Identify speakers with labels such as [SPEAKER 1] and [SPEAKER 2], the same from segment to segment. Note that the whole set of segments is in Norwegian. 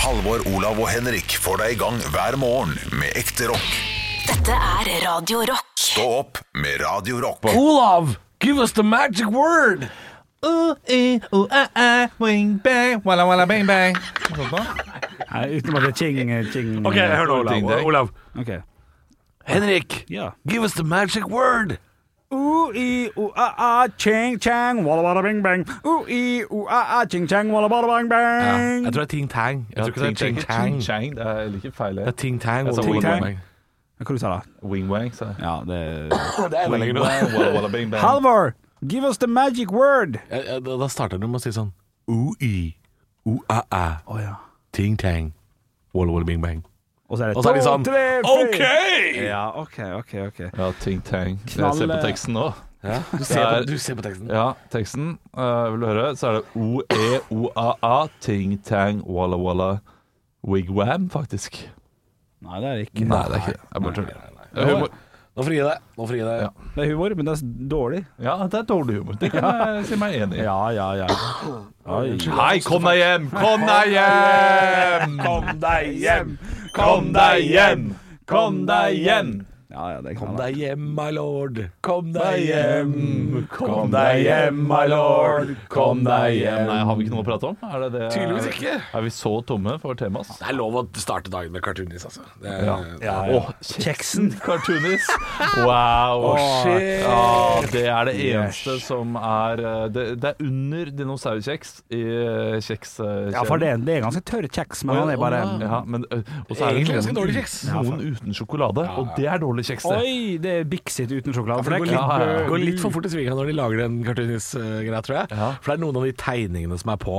[SPEAKER 1] Halvor, Olav og Henrik får deg i gang hver morgen med ekte rock.
[SPEAKER 2] Dette er Radio Rock.
[SPEAKER 1] Stå opp med Radio Rock.
[SPEAKER 3] Olav, give us the magic word!
[SPEAKER 4] Uh, eh, uh, ah, ah, wing, bang, walla, walla, bang, bang. Sånn da.
[SPEAKER 5] Nei, uten at det er ching, ching
[SPEAKER 3] Ok, hør nå, Olav.
[SPEAKER 4] Ting, det.
[SPEAKER 3] Olav.
[SPEAKER 5] Ok.
[SPEAKER 3] Henrik,
[SPEAKER 5] Ja.
[SPEAKER 3] give us the magic word!
[SPEAKER 5] Ui, u, a, a, ching, chang, walla, walla, bing, bang. Ui, u, a, a, ching, chang, walla, walla, bang, bang.
[SPEAKER 3] Jeg tror det er Ting Tang. Jeg tror ikke det er Ting Tang.
[SPEAKER 4] Ching Chang. Det er like feil.
[SPEAKER 3] Det er Ting Tang.
[SPEAKER 4] Jeg sa
[SPEAKER 3] Olav.
[SPEAKER 4] Ting
[SPEAKER 5] Tang. Hva du sa da?
[SPEAKER 4] Wing wang, sa jeg.
[SPEAKER 5] Ja, det
[SPEAKER 4] Wing wang, walla, walla, bang, bang.
[SPEAKER 5] Halvor, give us the magic word.
[SPEAKER 3] Ja, ja, Da da starter du med å si sånn Ui, u-a-a,
[SPEAKER 5] Å ja.
[SPEAKER 3] Ting Tang, walla walla bing bang.
[SPEAKER 5] Og så er det
[SPEAKER 3] Og så er de
[SPEAKER 5] to,
[SPEAKER 3] sånn,
[SPEAKER 5] tre, fire.
[SPEAKER 3] OK!
[SPEAKER 5] Ja, ok, ok, ok.
[SPEAKER 4] Ja, ting tang. Jeg ser på
[SPEAKER 5] Knalle.
[SPEAKER 4] teksten nå.
[SPEAKER 3] Du
[SPEAKER 4] ser på-
[SPEAKER 3] du ser på teksten.
[SPEAKER 4] Ja, teksten. eh, vil du høre? Så er det o-e-o-a-a, ting tang, walla, walla, wigwam, faktisk.
[SPEAKER 5] Nei, det er det ikke.
[SPEAKER 4] Nei, det er ikke det. Jeg bare tuller. Det er humor.
[SPEAKER 3] Nå frigir jeg deg. Nå frigir jeg deg.
[SPEAKER 4] Ja.
[SPEAKER 5] Det er humor, men det er dårlig.
[SPEAKER 4] Ja, det er dårlig humor. Det kan jeg si meg enig i.
[SPEAKER 5] Ja, ja, ja. Oi.
[SPEAKER 4] Hei, kom deg hjem! Kom deg hjem!
[SPEAKER 5] Kom deg hjem!
[SPEAKER 4] Kom deg hjem! Kom deg hjem!
[SPEAKER 5] Ja, ja, det
[SPEAKER 3] Kom
[SPEAKER 5] kan jeg.
[SPEAKER 3] deg hjem, my lord. Kom
[SPEAKER 4] Kom
[SPEAKER 3] deg
[SPEAKER 4] deg
[SPEAKER 3] hjem.
[SPEAKER 4] hjem, kom deg hjem, my lord. Kom deg hjem. Nei, Har vi ikke noe å prate om? Er det det?
[SPEAKER 3] Tydeligvis ikke.
[SPEAKER 4] Er vi så tomme for tema? ass?
[SPEAKER 3] Det er lov å starte dagen med cartoonis, altså. Det er,
[SPEAKER 4] Ja.
[SPEAKER 3] ja.
[SPEAKER 4] Åh, Kjeksen cartoonis. Wow.
[SPEAKER 3] shit.
[SPEAKER 4] Ja, det er det eneste som er eh, Det, det er under dinosaurkjeks i eh, kjeks... eh,
[SPEAKER 5] Ja, for
[SPEAKER 4] kjeden.
[SPEAKER 5] det er, det er ganske tørr kjeks, men
[SPEAKER 4] Å, ja,
[SPEAKER 5] han er bare
[SPEAKER 4] å, ja, men, ø, Og så er det
[SPEAKER 3] Egentlig ganske
[SPEAKER 4] noen,
[SPEAKER 3] dårlig
[SPEAKER 4] uten-
[SPEAKER 3] kjeks.
[SPEAKER 4] noen uten sjokolade, og det er dårlig kjeks. det.
[SPEAKER 5] Oi, det er Bixit uten
[SPEAKER 3] For det
[SPEAKER 5] sjokoladeflekk.
[SPEAKER 3] går litt,
[SPEAKER 4] Ja, ja, ja.
[SPEAKER 3] går litt for fort i svinga når de lager den cartoonis-greia, tror jeg.
[SPEAKER 4] Ja.
[SPEAKER 3] For det er noen av de tegningene som er på,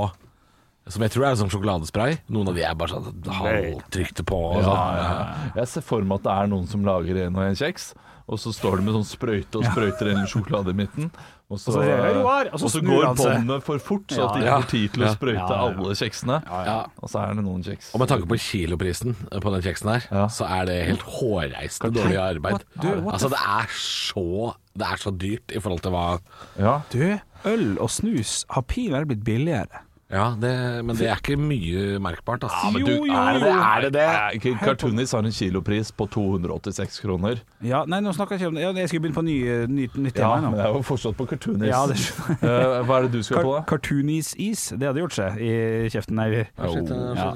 [SPEAKER 3] som jeg tror er sånn sjokoladespray. Noen av de er bare sånn halvtrykte på og
[SPEAKER 4] Ja,
[SPEAKER 3] sånn.
[SPEAKER 4] ja, ja. Jeg ser for meg at det er noen som lager en og en kjeks, og så står de med sånn sprøyte og sprøyter inn sjokolade i midten. Og så,
[SPEAKER 5] Og så sier jeg, «Joar!» og så
[SPEAKER 4] og så
[SPEAKER 5] snur
[SPEAKER 4] går
[SPEAKER 5] han seg.
[SPEAKER 4] båndet for fort, så at de
[SPEAKER 3] Ja.
[SPEAKER 4] ikke får tid til å
[SPEAKER 3] Ja.
[SPEAKER 4] sprøyte
[SPEAKER 5] Ja, ja, ja.
[SPEAKER 4] alle kjeksene.
[SPEAKER 3] Ja.
[SPEAKER 4] Og så er det noen kjeks.
[SPEAKER 3] Og med tanke på kiloprisen på den kjeksen her,
[SPEAKER 4] Ja.
[SPEAKER 3] så er det helt hårreisende dårlig arbeid.
[SPEAKER 5] What- du, what
[SPEAKER 3] altså, det er så Det er så dyrt i forhold til hva
[SPEAKER 4] Ja.
[SPEAKER 5] Du, øl og snus har pinadø blitt billigere.
[SPEAKER 3] Ja, det, men det er ikke mye merkbart, altså.
[SPEAKER 4] men du,
[SPEAKER 3] er det det? Er det det?
[SPEAKER 4] Nei, ikke- Cartoonis har en kilopris på 286 kroner.
[SPEAKER 5] Ja, nei, nå snakker jeg ikke om det. Ja, jeg skulle begynne på ny, eh, ny, nytt
[SPEAKER 4] Ja,
[SPEAKER 5] tema
[SPEAKER 4] men
[SPEAKER 5] nå.
[SPEAKER 4] jeg er jo fortsatt på Cartoonis.
[SPEAKER 5] Ja, det skjønner
[SPEAKER 4] Eh, hva er det du skal på, da?
[SPEAKER 5] Cartoonis-is, det hadde gjort seg i kjeften. Nei,
[SPEAKER 3] shit,
[SPEAKER 5] ja.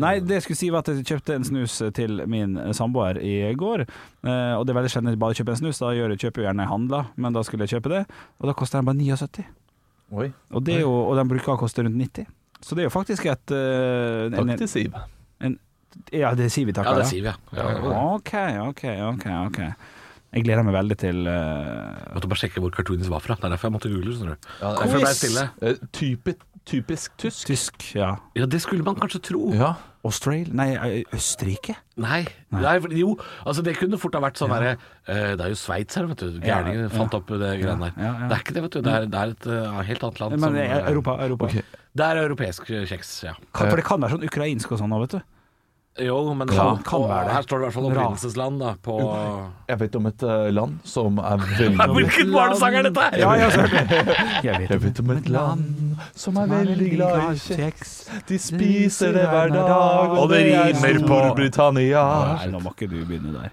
[SPEAKER 5] nei, det jeg skulle si var at jeg kjøpte en snus til min samboer i går. eh, Og det er veldig sjelden jeg bare kjøper en snus, da gjør jeg, kjøper jeg gjerne handla, men da skulle jeg kjøpe det. Og da koster den bare 79.
[SPEAKER 4] Oi,
[SPEAKER 5] Og, det er jo, og den bruker å koste rundt 90. Så det er jo faktisk et eh, en-
[SPEAKER 4] takk til Siv.
[SPEAKER 5] Ja, det sier vi takk
[SPEAKER 3] Ja, det sier vi, ja. ja.
[SPEAKER 5] Ok, ok, ok. ok Jeg gleder meg veldig til eh,
[SPEAKER 3] Måtte bare sjekke hvor cartoonis var fra. Det er derfor jeg måtte google. skjønner du.
[SPEAKER 4] Ja,
[SPEAKER 3] Derfor jeg ble
[SPEAKER 5] Quiz.
[SPEAKER 3] stille.
[SPEAKER 4] eh, typi- typisk tysk.
[SPEAKER 5] tysk, ja.
[SPEAKER 3] Ja, det skulle man kanskje tro.
[SPEAKER 4] Ja.
[SPEAKER 5] Australia? Nei, eh, Østerrike?
[SPEAKER 3] Nei. Nei. for- jo, altså det kunne fort ha vært sånn herre eh, Det er jo Sveits her, vet du. Gærninger
[SPEAKER 5] Ja, ja.
[SPEAKER 3] fant opp det greiene der.
[SPEAKER 5] ja, ja.
[SPEAKER 3] Det er ikke det, vet du. Det er, det er et eh, helt annet land.
[SPEAKER 5] Men det
[SPEAKER 3] som,
[SPEAKER 5] er
[SPEAKER 3] eh,
[SPEAKER 5] Europa. Europa.
[SPEAKER 3] Det er europeisk eh, kjeks, ja.
[SPEAKER 5] Kan, for det kan være sånn ukrainsk og sånn òg, vet du.
[SPEAKER 3] Jo, men
[SPEAKER 5] Kan-
[SPEAKER 3] og-
[SPEAKER 5] kan
[SPEAKER 3] og
[SPEAKER 5] være det.
[SPEAKER 3] Her står det i hvert fall
[SPEAKER 5] Bra.
[SPEAKER 3] opprinnelsesland, da, på
[SPEAKER 4] Jeg vet om et eh, land som er veldig
[SPEAKER 3] Hvilken barnesang er dette her?!
[SPEAKER 5] Ja, ja, så hørte jeg. Jeg
[SPEAKER 4] Jeg
[SPEAKER 5] vet
[SPEAKER 4] vet om et land som er veldig glad i kjeks.
[SPEAKER 5] kjeks.
[SPEAKER 4] De spiser det hver dag, og det rimer på Storbritannia.
[SPEAKER 5] Nei, nå må ikke du begynne der.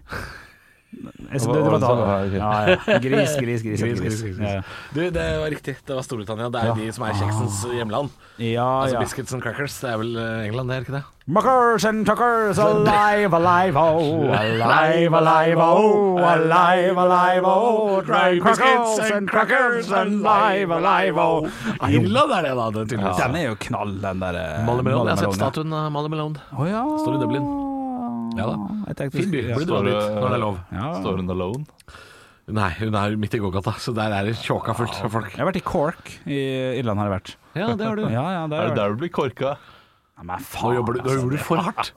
[SPEAKER 5] Jeg,
[SPEAKER 4] Ah,
[SPEAKER 5] så,
[SPEAKER 4] Hva-
[SPEAKER 5] det, det var da.
[SPEAKER 4] hva-
[SPEAKER 5] Ja, ja. Gris, gris, gris.
[SPEAKER 3] Gris,
[SPEAKER 5] gris,
[SPEAKER 3] gris, gris.
[SPEAKER 5] Ja,
[SPEAKER 3] Du, det var riktig. Det var Storbritannia. Det er de som er kjeksens hjemland.
[SPEAKER 5] ja.
[SPEAKER 3] Altså
[SPEAKER 5] Ah. ja.
[SPEAKER 3] Biscuits and crackers. Det er vel eh, England, det er ikke det?
[SPEAKER 5] Muckers and tuckers, alive, alive, oh, alive, alive, oh, alive, alive, oh, try crackers and crackers, alive, alive, oh.
[SPEAKER 3] Irland er det, da. Det, tydeligvis.
[SPEAKER 5] Den er jo knall, den der eh,
[SPEAKER 3] Molly Melone. Jeg har sett
[SPEAKER 5] Molly
[SPEAKER 3] statuen av Molly Melone.
[SPEAKER 5] Å ja.
[SPEAKER 3] Står i Dublin. Ja da.
[SPEAKER 5] Jeg tenkte
[SPEAKER 3] Fin by.
[SPEAKER 5] Ja.
[SPEAKER 3] Burde dra dit når det er lov.
[SPEAKER 5] Ja.
[SPEAKER 4] Står hun alone?
[SPEAKER 3] Nei, hun er midt i gågata, så der er det tjåka fullt av folk.
[SPEAKER 5] Jeg har vært i Cork i Irland, har jeg vært.
[SPEAKER 3] Ja, det har du.
[SPEAKER 5] Ja, ja, der
[SPEAKER 4] Er det
[SPEAKER 5] har jeg vært.
[SPEAKER 4] der du blir korka?
[SPEAKER 5] Ja, Men faen,
[SPEAKER 3] Nå jobber du, nå jobber du for hardt.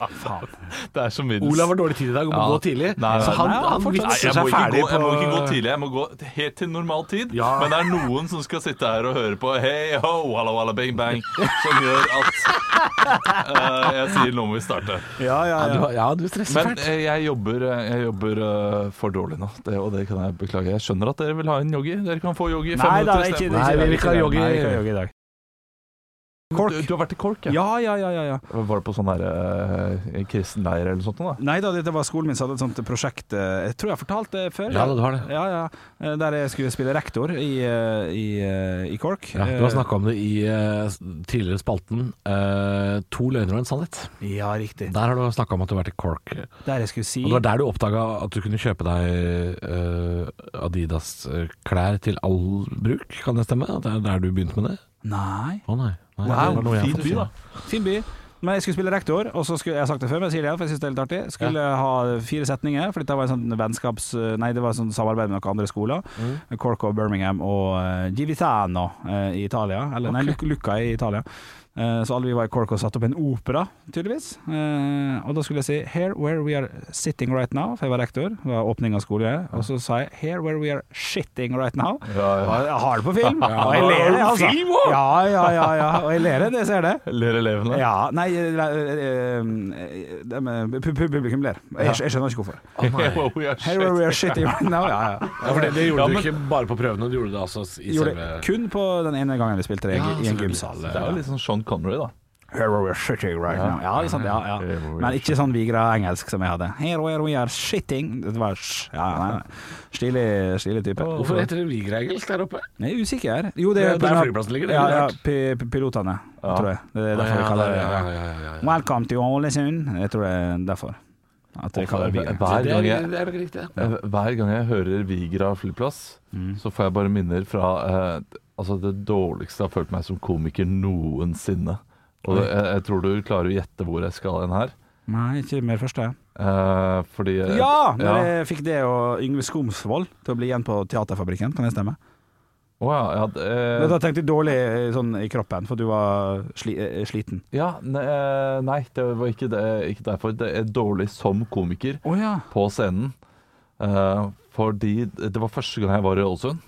[SPEAKER 4] Det er som middels.
[SPEAKER 3] Olav har dårlig tid i dag og må
[SPEAKER 4] Ja.
[SPEAKER 3] gå tidlig,
[SPEAKER 4] Nei, nei,
[SPEAKER 3] så han,
[SPEAKER 5] nei,
[SPEAKER 3] han
[SPEAKER 5] fortsatt.
[SPEAKER 4] Nei,
[SPEAKER 3] vitser
[SPEAKER 4] jeg må,
[SPEAKER 3] seg
[SPEAKER 4] ikke gå,
[SPEAKER 3] ferdig
[SPEAKER 4] jeg
[SPEAKER 3] på
[SPEAKER 4] må ikke gå tidlig. Jeg må gå helt til normal tid.
[SPEAKER 3] Ja.
[SPEAKER 4] Men det er noen som skal sitte her og høre på Hei ho, walla walla bang bang, som gjør at eh, jeg sier nå må vi starte.
[SPEAKER 5] Ja, ja,
[SPEAKER 3] Ja,
[SPEAKER 5] ja.
[SPEAKER 3] du- Ja, du stresser
[SPEAKER 4] Men
[SPEAKER 3] fælt.
[SPEAKER 4] eh, jeg jobber, eh, jeg jobber eh, for dårlig nå, det, og det kan jeg beklage. Jeg skjønner at dere vil ha en joggi. Dere kan få joggi i fem
[SPEAKER 5] Nei da,
[SPEAKER 4] minutter istedenfor.
[SPEAKER 5] ikke, ikke,
[SPEAKER 3] Nei, vi vil ikke ha
[SPEAKER 5] Nei,
[SPEAKER 3] jogge i-
[SPEAKER 5] vi vil ikke ha jogge i dag.
[SPEAKER 6] Cork.
[SPEAKER 4] Du, du har vært i Cork, ja.
[SPEAKER 5] Ja, ja, ja, ja, ja.
[SPEAKER 4] Var det på sånn der eh, kristen leir eller sånt noe, da?
[SPEAKER 5] Nei da, dette var skolen min som hadde et sånt prosjekt eh, Jeg tror jeg har fortalt det før.
[SPEAKER 3] Ja, du har det.
[SPEAKER 5] Ja, ja. Eh, Der jeg skulle spille rektor i, eh, i, eh, i KORK.
[SPEAKER 3] Ja, du har snakka om det i eh, tidligere spalten. eh, to løgner og en sannhet.
[SPEAKER 5] Eh, Ja, riktig.
[SPEAKER 3] Der har du snakka om at du har vært i Cork.
[SPEAKER 5] Der jeg skulle si
[SPEAKER 3] Og det var der du oppdaga at du kunne kjøpe deg eh, Adidas-klær til all bruk, kan det stemme? At det er der du begynte med det?
[SPEAKER 5] Nei.
[SPEAKER 3] Å nei. nei
[SPEAKER 5] Wow,
[SPEAKER 3] det var noe jeg
[SPEAKER 4] fin
[SPEAKER 3] fant
[SPEAKER 4] by,
[SPEAKER 3] på.
[SPEAKER 4] da.
[SPEAKER 5] Fin by. Men jeg skulle spille rektor, og så skulle jeg har sagt det før, men jeg sier det igjen, for jeg synes det er litt artig. Skulle ha fire setninger, for dette var en sånn vennskaps... Nei, det var en sånn samarbeid med noen andre skoler. Cork og Birmingham og eh, Givitano eh, i Italia. Eller nei, Luc- Lucca i Italia. Eh, så alle vi var i Cork og satte opp en opera, tydeligvis. Eh, og da skulle jeg si 'Here where we are sitting right now', for jeg var rektor. Det var åpning av skole. Og så sa jeg 'Here where we are shitting right now'. Og jeg har det på film. Og jeg ler det, altså. Ja, ja, ja, ja. Og jeg ler det, jeg ser det.
[SPEAKER 4] Ler elevene?
[SPEAKER 5] Ja, nei eh, eh, eh, dem, eh, pu- pu- Publikum ler. Jeg, jeg skjønner ikke hvorfor.
[SPEAKER 4] Wow, we are Oh, shit.
[SPEAKER 5] Hey, where we are shitting right now. Ja, ja.
[SPEAKER 3] Ja, for det, det gjorde
[SPEAKER 4] Ja, men-
[SPEAKER 3] du ikke bare på prøvene, du gjorde det altså i
[SPEAKER 5] Gjorde
[SPEAKER 3] selve
[SPEAKER 5] det kun på den ene gangen vi spilte det i, i en gymsal.
[SPEAKER 4] Det er jo litt sånn Sean Connery, da.
[SPEAKER 5] Here we are shitting right now. Ja, det er sant, ja, ja.
[SPEAKER 4] Here we are
[SPEAKER 5] Men ikke sånn Vigra-engelsk som jeg hadde. Here where we are shitting. Det var sj... Ja, nei, nei. Stilig, stilig type.
[SPEAKER 3] Hvorfor heter det Vigra-engelsk der oppe?
[SPEAKER 5] Jeg er usikker. Jo, det
[SPEAKER 3] Det
[SPEAKER 5] er
[SPEAKER 3] er
[SPEAKER 5] på grunn
[SPEAKER 3] der
[SPEAKER 5] av-
[SPEAKER 3] flyplassen ligger, det er
[SPEAKER 5] Ja, ja,
[SPEAKER 3] klart.
[SPEAKER 5] pi- pi- pilotene, tror jeg. Det er derfor
[SPEAKER 3] Ja,
[SPEAKER 5] vi kaller det
[SPEAKER 3] ja, ja, ja, ja, ja.
[SPEAKER 5] Welcome to Ålesund. Jeg tror det er derfor. At vi kaller det Vigra.
[SPEAKER 4] Hver
[SPEAKER 3] Det
[SPEAKER 4] gang
[SPEAKER 3] er,
[SPEAKER 4] jeg
[SPEAKER 3] det er nok riktig, ja.
[SPEAKER 4] Eh, Hver gang jeg hører Vigra flyplass, så får jeg bare minner fra eh, altså det dårligste jeg har følt meg som komiker noensinne. Og det, jeg, jeg tror du klarer å gjette hvor jeg skal hen her.
[SPEAKER 5] Nei, ikke mer første.
[SPEAKER 4] Eh, fordi jeg-
[SPEAKER 5] Ja! Når
[SPEAKER 4] ja.
[SPEAKER 5] jeg fikk det og Yngve Skomsvold til å bli igjen på Teaterfabrikken, kan det stemme?
[SPEAKER 4] Å ja, ja, d- eh,
[SPEAKER 5] Da tenkte jeg dårlig eh, sånn i kroppen, for du var sli eh, sliten.
[SPEAKER 4] ja ne, eh, Nei, det var ikke, det, ikke derfor. Det er dårlig som komiker
[SPEAKER 5] Å ja.
[SPEAKER 4] på scenen. Eh, fordi det var første gang jeg var i Ålesund,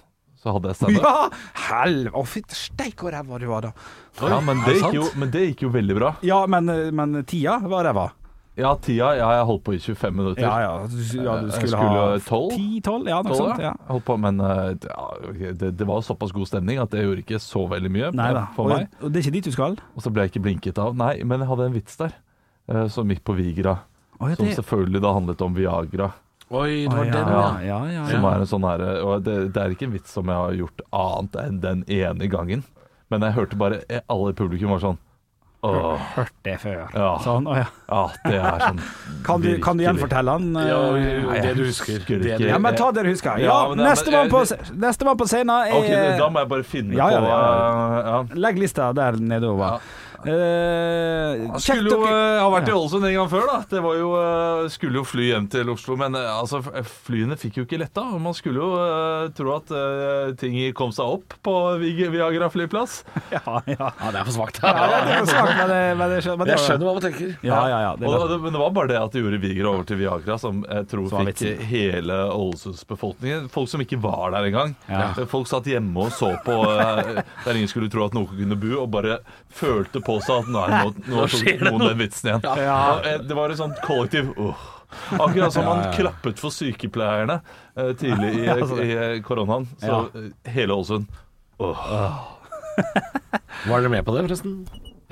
[SPEAKER 4] så hadde jeg standup.
[SPEAKER 5] Ja! Helvete! Å, fytti steik hvor ræva du var da.
[SPEAKER 4] Ja, men,
[SPEAKER 3] er
[SPEAKER 4] det
[SPEAKER 3] det
[SPEAKER 4] gikk jo,
[SPEAKER 3] sant?
[SPEAKER 4] men det gikk jo veldig bra.
[SPEAKER 5] Ja, men, eh, men tida var ræva.
[SPEAKER 4] Ja, tida ja, Jeg holdt på i 25 minutter.
[SPEAKER 5] Ja, ja. Du, ja, du
[SPEAKER 4] Jeg
[SPEAKER 5] skulle,
[SPEAKER 4] skulle
[SPEAKER 5] ha
[SPEAKER 4] ha 12?
[SPEAKER 5] 10-12? Ja, noe
[SPEAKER 4] Tolv,
[SPEAKER 5] sånt. Ja.
[SPEAKER 4] Jeg Holdt på, men eh, ja, ok, det, det var jo såpass god stemning at det gjorde ikke så veldig mye
[SPEAKER 5] Nei da.
[SPEAKER 4] for
[SPEAKER 5] Og,
[SPEAKER 4] meg.
[SPEAKER 5] og det er ikke dit du skal?
[SPEAKER 4] Og så ble jeg ikke blinket av. Nei, men jeg hadde en vits der eh, som gikk på Vigra.
[SPEAKER 5] Å, ja,
[SPEAKER 4] Som
[SPEAKER 5] det-
[SPEAKER 4] selvfølgelig da handlet om Viagra.
[SPEAKER 3] Oi, det
[SPEAKER 5] Å,
[SPEAKER 3] var den,
[SPEAKER 5] ja,
[SPEAKER 3] ja.
[SPEAKER 5] ja, ja,
[SPEAKER 4] Som er en sånn her, eh, og det, det er ikke en vits som jeg har gjort annet enn den ene gangen. Men jeg hørte bare eh, alle i publikum var sånn Åh,
[SPEAKER 5] Hørt det før.
[SPEAKER 4] Ja.
[SPEAKER 5] Sånn, å, ja.
[SPEAKER 4] ja, det er sånn
[SPEAKER 5] Kan du, kan
[SPEAKER 4] virkelig.
[SPEAKER 5] du gjenfortelle den? eh?
[SPEAKER 3] Ja, det du husker.
[SPEAKER 4] husker
[SPEAKER 3] Det
[SPEAKER 4] ikke.
[SPEAKER 3] du-
[SPEAKER 5] Ja, men ta det du husker. Ja,
[SPEAKER 4] eh, Ja, men det-
[SPEAKER 5] Nestemann
[SPEAKER 4] men- eh,
[SPEAKER 5] på, se- nestemann på scenen er
[SPEAKER 4] OK, da må jeg bare finne
[SPEAKER 5] Ja, ja,
[SPEAKER 4] på
[SPEAKER 5] ja,
[SPEAKER 4] eh, ja.
[SPEAKER 5] Legg lista der nedover. Eh,
[SPEAKER 4] Han
[SPEAKER 5] kjekt
[SPEAKER 4] skulle jo
[SPEAKER 5] dere-
[SPEAKER 4] eh, ha vært i Ålesund en gang før, da. Det var jo, eh, skulle jo fly hjem til Oslo, men eh, altså, f- flyene fikk jo ikke letta. og Man skulle jo eh, tro at eh, ting kom seg opp på Vig- Viagra flyplass.
[SPEAKER 5] Ja, ja.
[SPEAKER 3] Ja, det er for svakt.
[SPEAKER 5] Ja, ja, det er jo svakt, men det- men det skjø- men det
[SPEAKER 3] Jeg
[SPEAKER 5] var-
[SPEAKER 3] skjønner hva man tenker.
[SPEAKER 5] Ja, ja, ja. Det
[SPEAKER 4] og,
[SPEAKER 5] er
[SPEAKER 4] det, men det var bare det at det gjorde Vigra over til Viagra, som jeg tror
[SPEAKER 5] Som var
[SPEAKER 4] fikk
[SPEAKER 5] vitsen.
[SPEAKER 4] hele Ålesunds befolkning. Folk som ikke var der engang.
[SPEAKER 5] Ja.
[SPEAKER 4] Folk satt hjemme og så på eh, der ingen skulle tro at noen kunne bo, og bare følte på seg at nei, nå, nå tok noen den vitsen igjen.
[SPEAKER 5] Ja.
[SPEAKER 4] Og, eh, Det var et sånt kollektiv åh. Akkurat som man klappet for sykepleierne eh, tidlig i,
[SPEAKER 5] altså
[SPEAKER 4] i koronaen. Så eh, hele Ålesund åh.
[SPEAKER 3] Var dere med på det, forresten?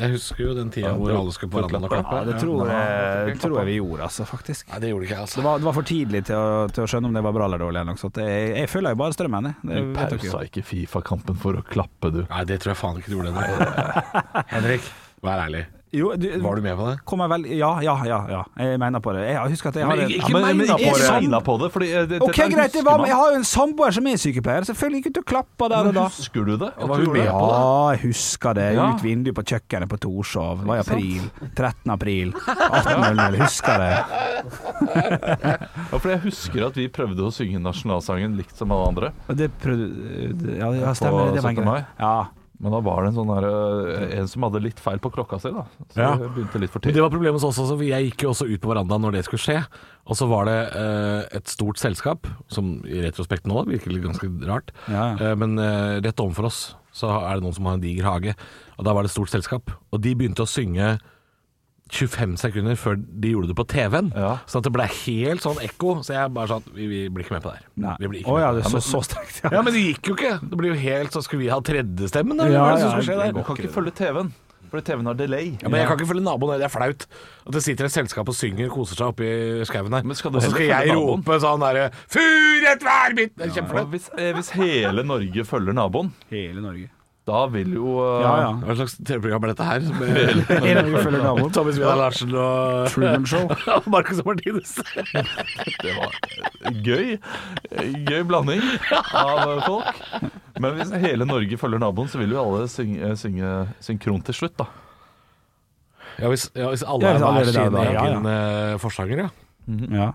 [SPEAKER 3] Jeg husker jo den tida hvor alle skulle på verandaen og klappe.
[SPEAKER 5] Ja, det tror jeg, tror jeg vi gjorde, altså, faktisk.
[SPEAKER 3] Nei, det gjorde ikke jeg, altså.
[SPEAKER 5] Det var, det var for tidlig til å, til å skjønne om det var bra eller dårlig. Eller noe sånt. Jeg, jeg følger jo bare strømmen. jeg. Det
[SPEAKER 4] Du
[SPEAKER 5] vet dere jo.
[SPEAKER 4] pausa ikke Fifa-kampen for å klappe, du.
[SPEAKER 3] Nei, det tror jeg faen ikke du gjorde. Henrik. Henrik, vær ærlig.
[SPEAKER 5] Jo, du-
[SPEAKER 3] Var du med på det?
[SPEAKER 5] Kommer vel Ja, ja, ja. ja. Jeg mener på det. Jeg husker at jeg har en-
[SPEAKER 3] ikke-
[SPEAKER 4] Ja, men,
[SPEAKER 3] meg
[SPEAKER 4] men
[SPEAKER 3] da,
[SPEAKER 4] ikke
[SPEAKER 3] Bård.
[SPEAKER 4] regna på det. Fordi eh, det,
[SPEAKER 5] sånn? Ok,
[SPEAKER 4] dette er-
[SPEAKER 5] greit, det
[SPEAKER 4] husker
[SPEAKER 5] var,
[SPEAKER 4] man.
[SPEAKER 5] jeg har jo en samboer som er sykepleier. Selvfølgelig gikk ut og klappa der og
[SPEAKER 4] Men
[SPEAKER 5] da.
[SPEAKER 4] Husker du det? At
[SPEAKER 3] Var
[SPEAKER 4] du
[SPEAKER 3] hun
[SPEAKER 4] gjorde
[SPEAKER 3] med
[SPEAKER 4] det?
[SPEAKER 3] på
[SPEAKER 5] Ja,
[SPEAKER 3] det?
[SPEAKER 5] jeg husker det.
[SPEAKER 4] Ja.
[SPEAKER 5] Ut vinduet på kjøkkenet på Torshov. Det var i april. 13. april. 18.00. Husker det.
[SPEAKER 4] Ja, for jeg husker at vi prøvde å synge nasjonalsangen likt som alle andre.
[SPEAKER 5] Og det prøvde Ja, ja stemmer. Det var en
[SPEAKER 4] 17. mai.
[SPEAKER 5] greie. Ja.
[SPEAKER 4] Men da var det en sånn der, eh, en som hadde litt feil på klokka si, da. Så
[SPEAKER 3] Ja.
[SPEAKER 4] det begynte litt for
[SPEAKER 3] Men
[SPEAKER 4] tidlig.
[SPEAKER 3] det var problemet hos oss også. for Jeg gikk jo også ut på verandaen når det skulle skje. Og så var det eh, et stort selskap, som i retrospekt nå virker litt ganske rart.
[SPEAKER 5] Ja, ja.
[SPEAKER 3] Eh, men eh, rett overfor oss så er det noen som har en diger hage. Og da var det et stort selskap. Og de begynte å synge 25 sekunder før de gjorde det på TV-en.
[SPEAKER 4] Ja.
[SPEAKER 3] Sånn at det ble helt sånn ekko. Så jeg bare sånn Vi, vi blir ikke med på det her.
[SPEAKER 5] Nei.
[SPEAKER 3] Vi blir ikke
[SPEAKER 5] Å
[SPEAKER 3] med
[SPEAKER 5] ja,
[SPEAKER 3] på
[SPEAKER 5] det
[SPEAKER 3] her.
[SPEAKER 5] så så strengt.
[SPEAKER 3] Ja,
[SPEAKER 5] Ja.
[SPEAKER 3] men det gikk jo ikke. Det blir jo helt Så skulle sånn, vi ha tredjestemmen, da? eller
[SPEAKER 5] Ja,
[SPEAKER 3] hva er det som
[SPEAKER 5] ja,
[SPEAKER 3] skulle skje
[SPEAKER 5] det
[SPEAKER 3] der?
[SPEAKER 4] Du kan ikke følge TV-en. Fordi TV-en har delay.
[SPEAKER 3] Ja, men jeg kan ikke følge naboen, det er flaut. At det sitter et selskap og synger og koser seg oppi skauen her.
[SPEAKER 4] Men skal du
[SPEAKER 3] og så skal
[SPEAKER 4] heller følge
[SPEAKER 3] jeg
[SPEAKER 4] naboen?
[SPEAKER 3] rope sånn derre Fur et vær mitt! Det er
[SPEAKER 4] Og
[SPEAKER 3] kjempeflaut.
[SPEAKER 4] Hvis, eh, hvis hele Norge følger naboen,
[SPEAKER 5] Hele Norge.
[SPEAKER 4] da vil jo eh,
[SPEAKER 5] Ja, ja.
[SPEAKER 3] Hva slags TV-program er dette her? Som,
[SPEAKER 5] Hele Norge følger naboen.
[SPEAKER 3] Tommy Svidar Larsen og
[SPEAKER 5] Truman Show.
[SPEAKER 3] Marcus Martinus.
[SPEAKER 4] Det var gøy. Gøy blanding av folk. Men hvis hele Norge følger naboen, så vil jo alle synge, synge synkron til slutt, da.
[SPEAKER 3] Ja, hvis, ja, hvis alle
[SPEAKER 5] Ja,
[SPEAKER 3] er
[SPEAKER 5] hvis alle
[SPEAKER 3] hver
[SPEAKER 5] er der,
[SPEAKER 3] sin
[SPEAKER 5] da. Ja, ja.
[SPEAKER 3] egen eh, forsanger, ja.
[SPEAKER 5] Ja,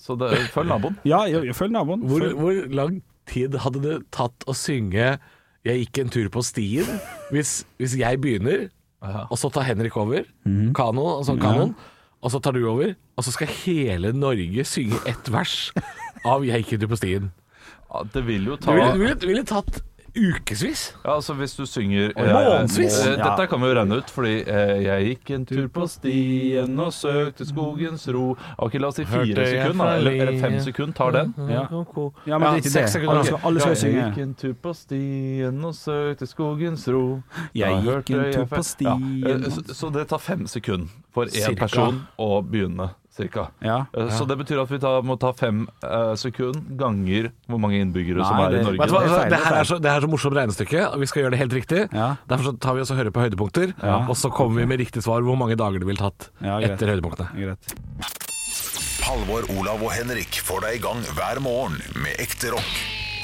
[SPEAKER 4] Så det, følg naboen.
[SPEAKER 5] ja jo, jo, følg naboen.
[SPEAKER 3] Hvor,
[SPEAKER 5] Følg-
[SPEAKER 3] hvor lang tid hadde det tatt å synge 'Jeg gikk en tur på stien' hvis, hvis jeg begynner, og så tar Henrik over,
[SPEAKER 5] Mhm.
[SPEAKER 3] kano, altså kanon, og så tar du over, og så skal hele Norge synge ett vers av 'Jeg gikk en tur på stien'.
[SPEAKER 4] Ja, det vil jo
[SPEAKER 3] Det
[SPEAKER 4] ta
[SPEAKER 3] ville, det ville, det ville tatt ukevis.
[SPEAKER 4] Ja, altså hvis du synger eh,
[SPEAKER 3] Månedsvis.
[SPEAKER 4] eh,
[SPEAKER 5] Ja.
[SPEAKER 4] Dette kan vi jo regne ut, fordi eh, jeg gikk en tur på stien og søkte skogens ro. Ok, la oss si fire
[SPEAKER 3] Hørte jeg
[SPEAKER 4] sekunder, da,
[SPEAKER 3] fra
[SPEAKER 4] eller, eller fem
[SPEAKER 3] linje.
[SPEAKER 4] sekunder tar den.
[SPEAKER 5] Ja.
[SPEAKER 3] Ja,
[SPEAKER 5] Ja, men drit i det.
[SPEAKER 3] seks sekunder.
[SPEAKER 5] Alle skal, alle skal jo
[SPEAKER 4] Jeg gikk
[SPEAKER 5] synge.
[SPEAKER 4] en tur på stien og søkte skogens ro.
[SPEAKER 5] Jeg
[SPEAKER 4] Da
[SPEAKER 5] gikk
[SPEAKER 4] hørte
[SPEAKER 5] en tur
[SPEAKER 4] jeg
[SPEAKER 5] på
[SPEAKER 4] fe-
[SPEAKER 5] stien.
[SPEAKER 4] Ja, eh, så, så det tar fem sekunder for én
[SPEAKER 3] Cirka.
[SPEAKER 4] person å begynne, cirka.
[SPEAKER 5] Ja.
[SPEAKER 4] Eh, Så det betyr at vi tar, må ta fem eh, sekunder ganger hvor mange innbyggere som
[SPEAKER 5] Nei,
[SPEAKER 4] er i
[SPEAKER 5] det-
[SPEAKER 4] Norge.
[SPEAKER 3] Vet du hva,
[SPEAKER 5] Det er feil,
[SPEAKER 3] det, her
[SPEAKER 5] det er
[SPEAKER 3] er så, det her er så morsomt regnestykke. og Vi skal gjøre det helt riktig.
[SPEAKER 5] Ja.
[SPEAKER 3] Derfor så tar vi oss og hører på høydepunkter, og så kommer vi med riktig svar hvor mange dager det ville tatt
[SPEAKER 5] Ja, greit.
[SPEAKER 3] etter høydepunktene.
[SPEAKER 5] Greit.
[SPEAKER 1] Halvor, Olav og Henrik får deg i gang hver morgen med ekte rock.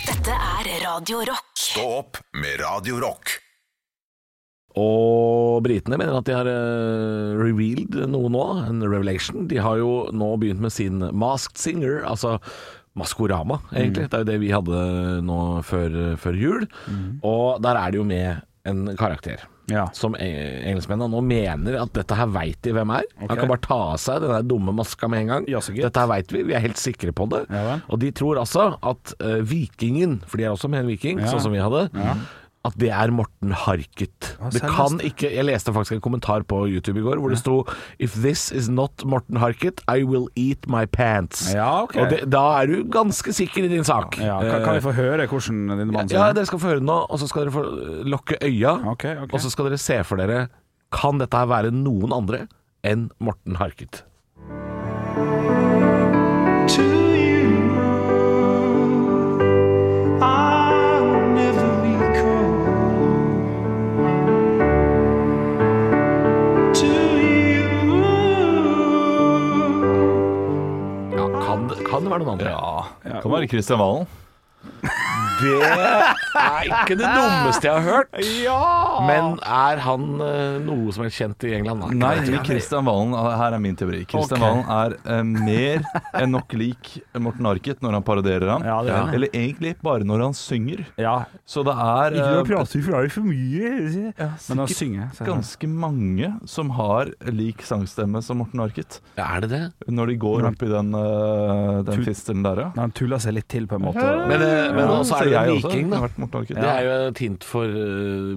[SPEAKER 2] Dette er Radio Rock.
[SPEAKER 1] Stå opp med Radio Rock.
[SPEAKER 3] Og britene mener at de har eh, revealed noe nå, en revelation. De har jo nå begynt med sin Masked Singer, altså Maskorama, egentlig. Det er jo det vi hadde nå før, før jul. Og der er det jo med en karakter.
[SPEAKER 5] Ja.
[SPEAKER 3] Som eh, engelskmennene nå mener at dette her veit de hvem er. Han kan bare ta av seg den der dumme maska med en gang.
[SPEAKER 5] Ja, så gitt.
[SPEAKER 3] dette her veit vi, vi er helt sikre på det.
[SPEAKER 5] Ja vel.
[SPEAKER 3] og de tror altså at eh, vikingen, for de er også med en viking,
[SPEAKER 5] Ja.
[SPEAKER 3] sånn som vi hadde, at det er Morten Harket. det kan ikke Jeg leste faktisk en kommentar på YouTube i går hvor det sto If this is not Morten Harket, I will eat my pants.
[SPEAKER 5] Ja, ok.
[SPEAKER 3] Og det, da er du ganske sikker i din sak.
[SPEAKER 5] Ja, kan, kan vi få høre hvordan din mann
[SPEAKER 3] Eh, Ja,
[SPEAKER 5] synger?
[SPEAKER 3] dere skal få høre den nå, og så skal dere få eh, lukke øya.
[SPEAKER 5] Ok, ok.
[SPEAKER 3] Og så skal dere se for dere Kan dette her være noen andre enn Morten Harket?
[SPEAKER 7] to you. I'll never recall to you.
[SPEAKER 3] Ja, kan, det- kan det være noen andre?
[SPEAKER 4] Ja, kan være Kristian Valen.
[SPEAKER 3] Det er ikke det dummeste jeg har hørt. Men er han eh, noe som er kjent i England? da?
[SPEAKER 4] Nei, Kristian Valen, ah, her er min teori. Kristian Valen er eh, mer enn nok lik Morten Arket når han parodierer ham.
[SPEAKER 5] Ja, det er han.
[SPEAKER 4] Eller egentlig bare når han synger.
[SPEAKER 5] Ja.
[SPEAKER 4] Så det er eh,
[SPEAKER 5] prater fra deg for mye. Men han synger. så-
[SPEAKER 4] ganske mange som har lik sangstemme som Morten Arket.
[SPEAKER 3] Er det det?
[SPEAKER 4] Når de går opp i den, eh, den fistelen der, ja.
[SPEAKER 5] Han tuller seg litt til, på en måte.
[SPEAKER 3] Men, eh, men
[SPEAKER 4] Ja,
[SPEAKER 3] også
[SPEAKER 4] så
[SPEAKER 3] er det en
[SPEAKER 4] jeg også
[SPEAKER 3] viking,
[SPEAKER 4] har
[SPEAKER 3] da.
[SPEAKER 4] vært Morten Arket.
[SPEAKER 3] Det er jo et hint for eh,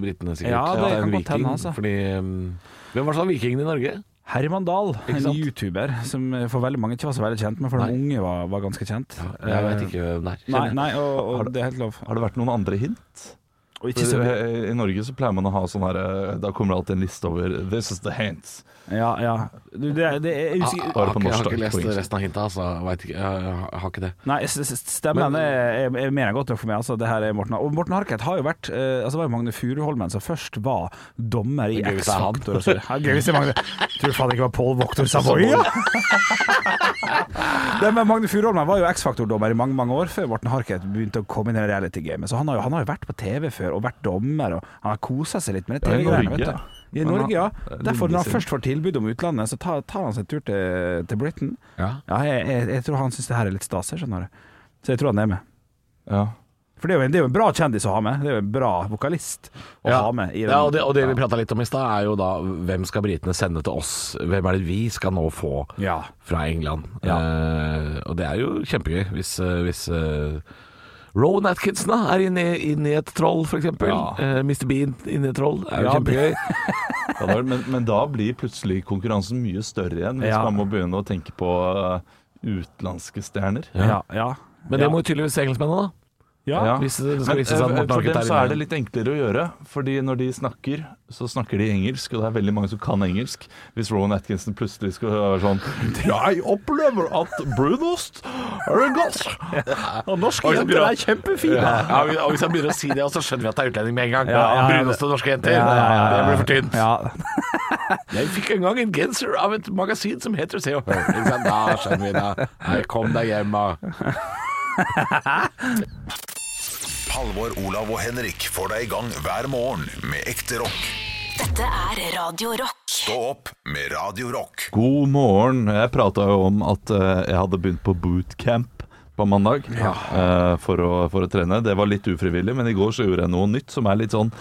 [SPEAKER 3] britene, sikkert.
[SPEAKER 5] Ja, det
[SPEAKER 3] er
[SPEAKER 5] kan
[SPEAKER 3] en
[SPEAKER 5] godt hende, altså.
[SPEAKER 3] Fordi eh, Hvem var sånn vikingen i Norge?
[SPEAKER 5] Herman Dahl, en
[SPEAKER 3] sant?
[SPEAKER 5] YouTuber som for veldig mange ikke var så veldig kjent, men for de unge var, var ganske kjent. Eh,
[SPEAKER 3] Jeg veit ikke hvem det er.
[SPEAKER 5] Nei, nei og, og det er helt lov.
[SPEAKER 4] Har det vært noen andre hint? eh,
[SPEAKER 5] Og ikke så
[SPEAKER 4] I i Norge så pleier man å ha sånn her eh, Da kommer det alltid en liste over This is the hints.
[SPEAKER 5] Ja, ja. Du, det, er- det er
[SPEAKER 3] Ah.
[SPEAKER 5] usikker...
[SPEAKER 4] Bare på
[SPEAKER 3] Jeg har
[SPEAKER 4] norsk,
[SPEAKER 3] ikke
[SPEAKER 4] da, på
[SPEAKER 3] lest
[SPEAKER 4] engelsk.
[SPEAKER 3] resten av hintet, altså. Jeg, vet ikke, jeg, jeg, jeg har ikke det.
[SPEAKER 5] Nei, s- s- stemmen
[SPEAKER 3] Men-
[SPEAKER 5] er, er, er mer enn godt nok for meg. Altså, det her er Morten Har- Og Morten Harket har jo vært eh, Altså, det var jo Magne Furuholmen som først var dommer i altså.
[SPEAKER 3] Det er gøy hvis det er han.
[SPEAKER 5] X-Faktor. og så- Ja, Gøy hvis det er Magne Tror du faen ikke det var Pål Voktor Savoy, ja? Nei, men Magne Furuholmen var jo X-Faktor-dommer i mange mange år før Morten Harket begynte å komme inn i det reality-gamet. Så han har, jo, han har jo vært på TV før og vært dommer, og han har kosa seg litt med det
[SPEAKER 4] Ja, i
[SPEAKER 5] TV-greiene.
[SPEAKER 4] Norge,
[SPEAKER 5] vet
[SPEAKER 4] ja.
[SPEAKER 5] du. I Norge, ja.
[SPEAKER 4] Det er lenge
[SPEAKER 5] Derfor, når han
[SPEAKER 4] siden.
[SPEAKER 5] først får tilbud om utlandet, så tar, tar han seg en tur til, til Britain.
[SPEAKER 3] Ja.
[SPEAKER 5] Ja, jeg, jeg, jeg tror han syns det her er litt stas, jeg skjønner du. Så jeg tror han er med.
[SPEAKER 4] Ja.
[SPEAKER 5] For det er jo en, det er jo en bra kjendis å ha med. Det er jo en bra vokalist å ha med. I den.
[SPEAKER 3] ja, og det, og det vi prata litt om i stad, er jo da hvem skal britene sende til oss? Hvem er det vi skal nå få
[SPEAKER 5] Ja.
[SPEAKER 3] fra England?
[SPEAKER 5] Ja.
[SPEAKER 3] Eh, og det er jo kjempegøy hvis, eh, hvis eh, Rowan Atkinson da, er inne i, inne i et troll, f.eks. eksempel
[SPEAKER 4] Ja.
[SPEAKER 3] Eh, Mr. Bean inne i et troll. Det er jo
[SPEAKER 5] Ja,
[SPEAKER 3] kjempegøy.
[SPEAKER 4] Ja, da- men, men da blir plutselig konkurransen mye større igjen, hvis
[SPEAKER 5] Ja.
[SPEAKER 4] man må begynne å tenke på eh, utenlandske stjerner.
[SPEAKER 5] Ja, ja.
[SPEAKER 3] Men det må jo tydeligvis engelskmennene, da.
[SPEAKER 5] Ja.
[SPEAKER 3] Hvis det skal
[SPEAKER 4] Men
[SPEAKER 3] vise seg at
[SPEAKER 4] eh,
[SPEAKER 3] Morten
[SPEAKER 4] for
[SPEAKER 3] Anket
[SPEAKER 4] dem
[SPEAKER 3] er
[SPEAKER 4] så er det
[SPEAKER 3] inne.
[SPEAKER 4] litt enklere å gjøre. Fordi når de snakker, så snakker de engelsk, og det er veldig mange som kan engelsk. Hvis Rowan Atkinson plutselig skulle være sånn Jeg opplever at brunost er godt. Og norske
[SPEAKER 3] Og så blir han-
[SPEAKER 4] kjempefine.
[SPEAKER 3] Ja, og hvis- og hvis han begynner å si det, så skjønner vi at det er utlending med en gang.
[SPEAKER 5] Ja, ja, ja.
[SPEAKER 3] Bruneste norske jenter. Det blir for tynt. Jeg fikk en gang en genser av et magasin som heter Se og Hør. Ikke sant? Da skjønner vi det. Nei, kom deg hjem, da.
[SPEAKER 1] Halvor, Olav og Henrik får deg i gang hver morgen med ekte rock.
[SPEAKER 2] Dette er Radio Rock.
[SPEAKER 1] Stå opp med Radio Rock.
[SPEAKER 4] God morgen. Jeg prata jo om at eh, jeg hadde begynt på bootcamp på mandag eh, for, å, for å trene. Det var litt ufrivillig, men i går så gjorde jeg noe nytt som er litt sånn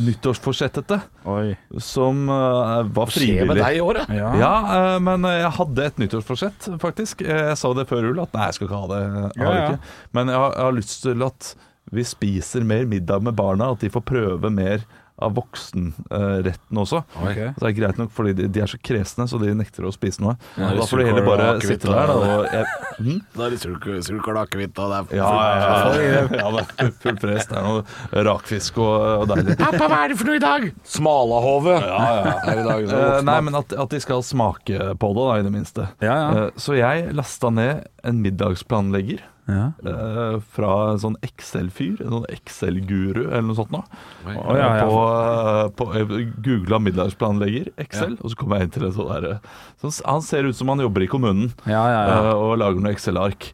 [SPEAKER 4] nyttårsforsettete.
[SPEAKER 5] Oi.
[SPEAKER 4] Som eh, var
[SPEAKER 3] Skje med
[SPEAKER 4] frivillig.
[SPEAKER 3] deg i år, da.
[SPEAKER 5] Ja.
[SPEAKER 4] Ja, eh, men eh, jeg hadde et nyttårsforsett, faktisk. Eh, Jeg sa det før jul at nei, jeg skal ikke ha det. Jeg har
[SPEAKER 5] Ja, ja.
[SPEAKER 4] det Ikke. Men jeg har, jeg har lyst til at vi spiser mer middag med barna, at de får prøve mer av voksenretten også.
[SPEAKER 5] Ok.
[SPEAKER 4] Så det er greit nok, fordi de, de er så kresne, så de nekter å spise noe.
[SPEAKER 3] Ja,
[SPEAKER 4] da får
[SPEAKER 3] surkål
[SPEAKER 4] du heller bare
[SPEAKER 3] og akevitt
[SPEAKER 4] sitte der, da.
[SPEAKER 3] og-
[SPEAKER 4] Og jeg, hm?
[SPEAKER 3] Da er det surk- surkål og akevitt, og det er
[SPEAKER 4] ja, ja, ja, ja, det er fullt press. Det er noe rakfisk og, og deilig.
[SPEAKER 3] Pappa, hva er det for noe i dag? Smalahove. Er det i dag,
[SPEAKER 4] Eh, nei, men at, at de skal smake på det, da, i det minste.
[SPEAKER 5] Ja, ja.
[SPEAKER 4] Eh, så jeg lasta ned en middagsplanlegger
[SPEAKER 5] Ja.
[SPEAKER 4] eh, fra en sånn Excel-fyr, en sånn Excel-guru eller noe sånt. Nå.
[SPEAKER 5] Å, ja, ja.
[SPEAKER 4] På, eh, på, jeg googla middagsplanlegger, Excel, og så kom jeg inn til en sånn derre sånn, Han ser ut som han jobber i kommunen
[SPEAKER 5] Ja, ja, ja.
[SPEAKER 4] eh, og lager noen Excel-ark.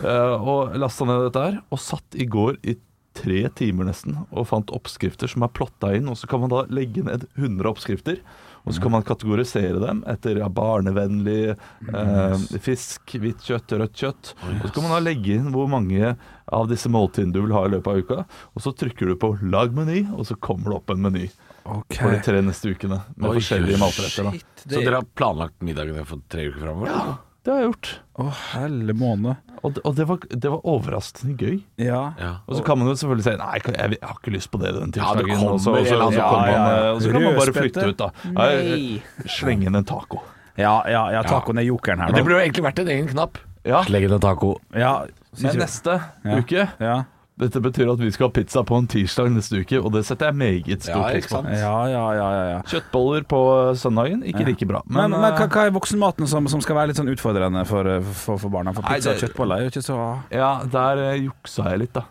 [SPEAKER 4] Eh, og lasta ned dette her, og satt i går i tre timer nesten og fant oppskrifter som er plotta inn. Og så kan man da legge ned 100 oppskrifter. Og
[SPEAKER 5] Mhm.
[SPEAKER 4] så kan man kategorisere dem etter ja, barnevennlig,
[SPEAKER 5] Mhm.
[SPEAKER 4] eh, fisk, hvitt kjøtt, rødt kjøtt.
[SPEAKER 5] Oh,
[SPEAKER 4] Og så kan man da legge inn hvor mange av disse måltidene du vil ha i løpet av uka. Og så trykker du på 'lag meny', og så kommer det opp en meny
[SPEAKER 5] Ok.
[SPEAKER 4] for de tre neste ukene med
[SPEAKER 3] Oi,
[SPEAKER 4] forskjellige matretter. da.
[SPEAKER 3] Så dere har planlagt middagene for tre uker framover? Ja.
[SPEAKER 4] Det har jeg gjort.
[SPEAKER 5] Å, helle måne.
[SPEAKER 4] Og, det- og det, var, det var overraskende gøy.
[SPEAKER 5] Ja.
[SPEAKER 3] ja.
[SPEAKER 4] Og så kan man jo selvfølgelig si Nei, jeg, jeg har ikke lyst på det den
[SPEAKER 3] Ja, det
[SPEAKER 4] tirsdagen.
[SPEAKER 3] kommer
[SPEAKER 4] og så, og så,
[SPEAKER 3] en
[SPEAKER 4] og
[SPEAKER 3] eller
[SPEAKER 4] så, kommer
[SPEAKER 5] annen-
[SPEAKER 4] man,
[SPEAKER 5] Ja, ja, ja.
[SPEAKER 4] og så kan man bare
[SPEAKER 5] Rødspette.
[SPEAKER 4] flytte ut, da. Nei. Slenge inn en taco.
[SPEAKER 5] Ja, ja, ja tacoen er jokeren her,
[SPEAKER 3] Det
[SPEAKER 5] da.
[SPEAKER 3] burde jo egentlig vært en egen knapp.
[SPEAKER 4] Ja.
[SPEAKER 3] Legg inn en taco.
[SPEAKER 5] Ja,
[SPEAKER 4] Men
[SPEAKER 5] synes jeg.
[SPEAKER 4] neste uke
[SPEAKER 5] Ja.
[SPEAKER 4] Dette betyr at vi skal ha pizza på en tirsdag neste uke, og det setter jeg meget stor
[SPEAKER 3] Ja,
[SPEAKER 4] pris
[SPEAKER 3] ikke
[SPEAKER 4] på.
[SPEAKER 3] sant?
[SPEAKER 5] Ja, ja, ja, ja, ja.
[SPEAKER 4] Kjøttboller på søndagen, ikke like bra.
[SPEAKER 5] Men,
[SPEAKER 4] Men,
[SPEAKER 5] men hva,
[SPEAKER 4] eh,
[SPEAKER 5] hva er voksenmaten som, som skal være litt sånn utfordrende for, for, for barna? For
[SPEAKER 4] Nei,
[SPEAKER 5] pizza og
[SPEAKER 4] det-
[SPEAKER 5] kjøttboller er jo ikke så
[SPEAKER 4] ja, der eh, juksa jeg litt, da.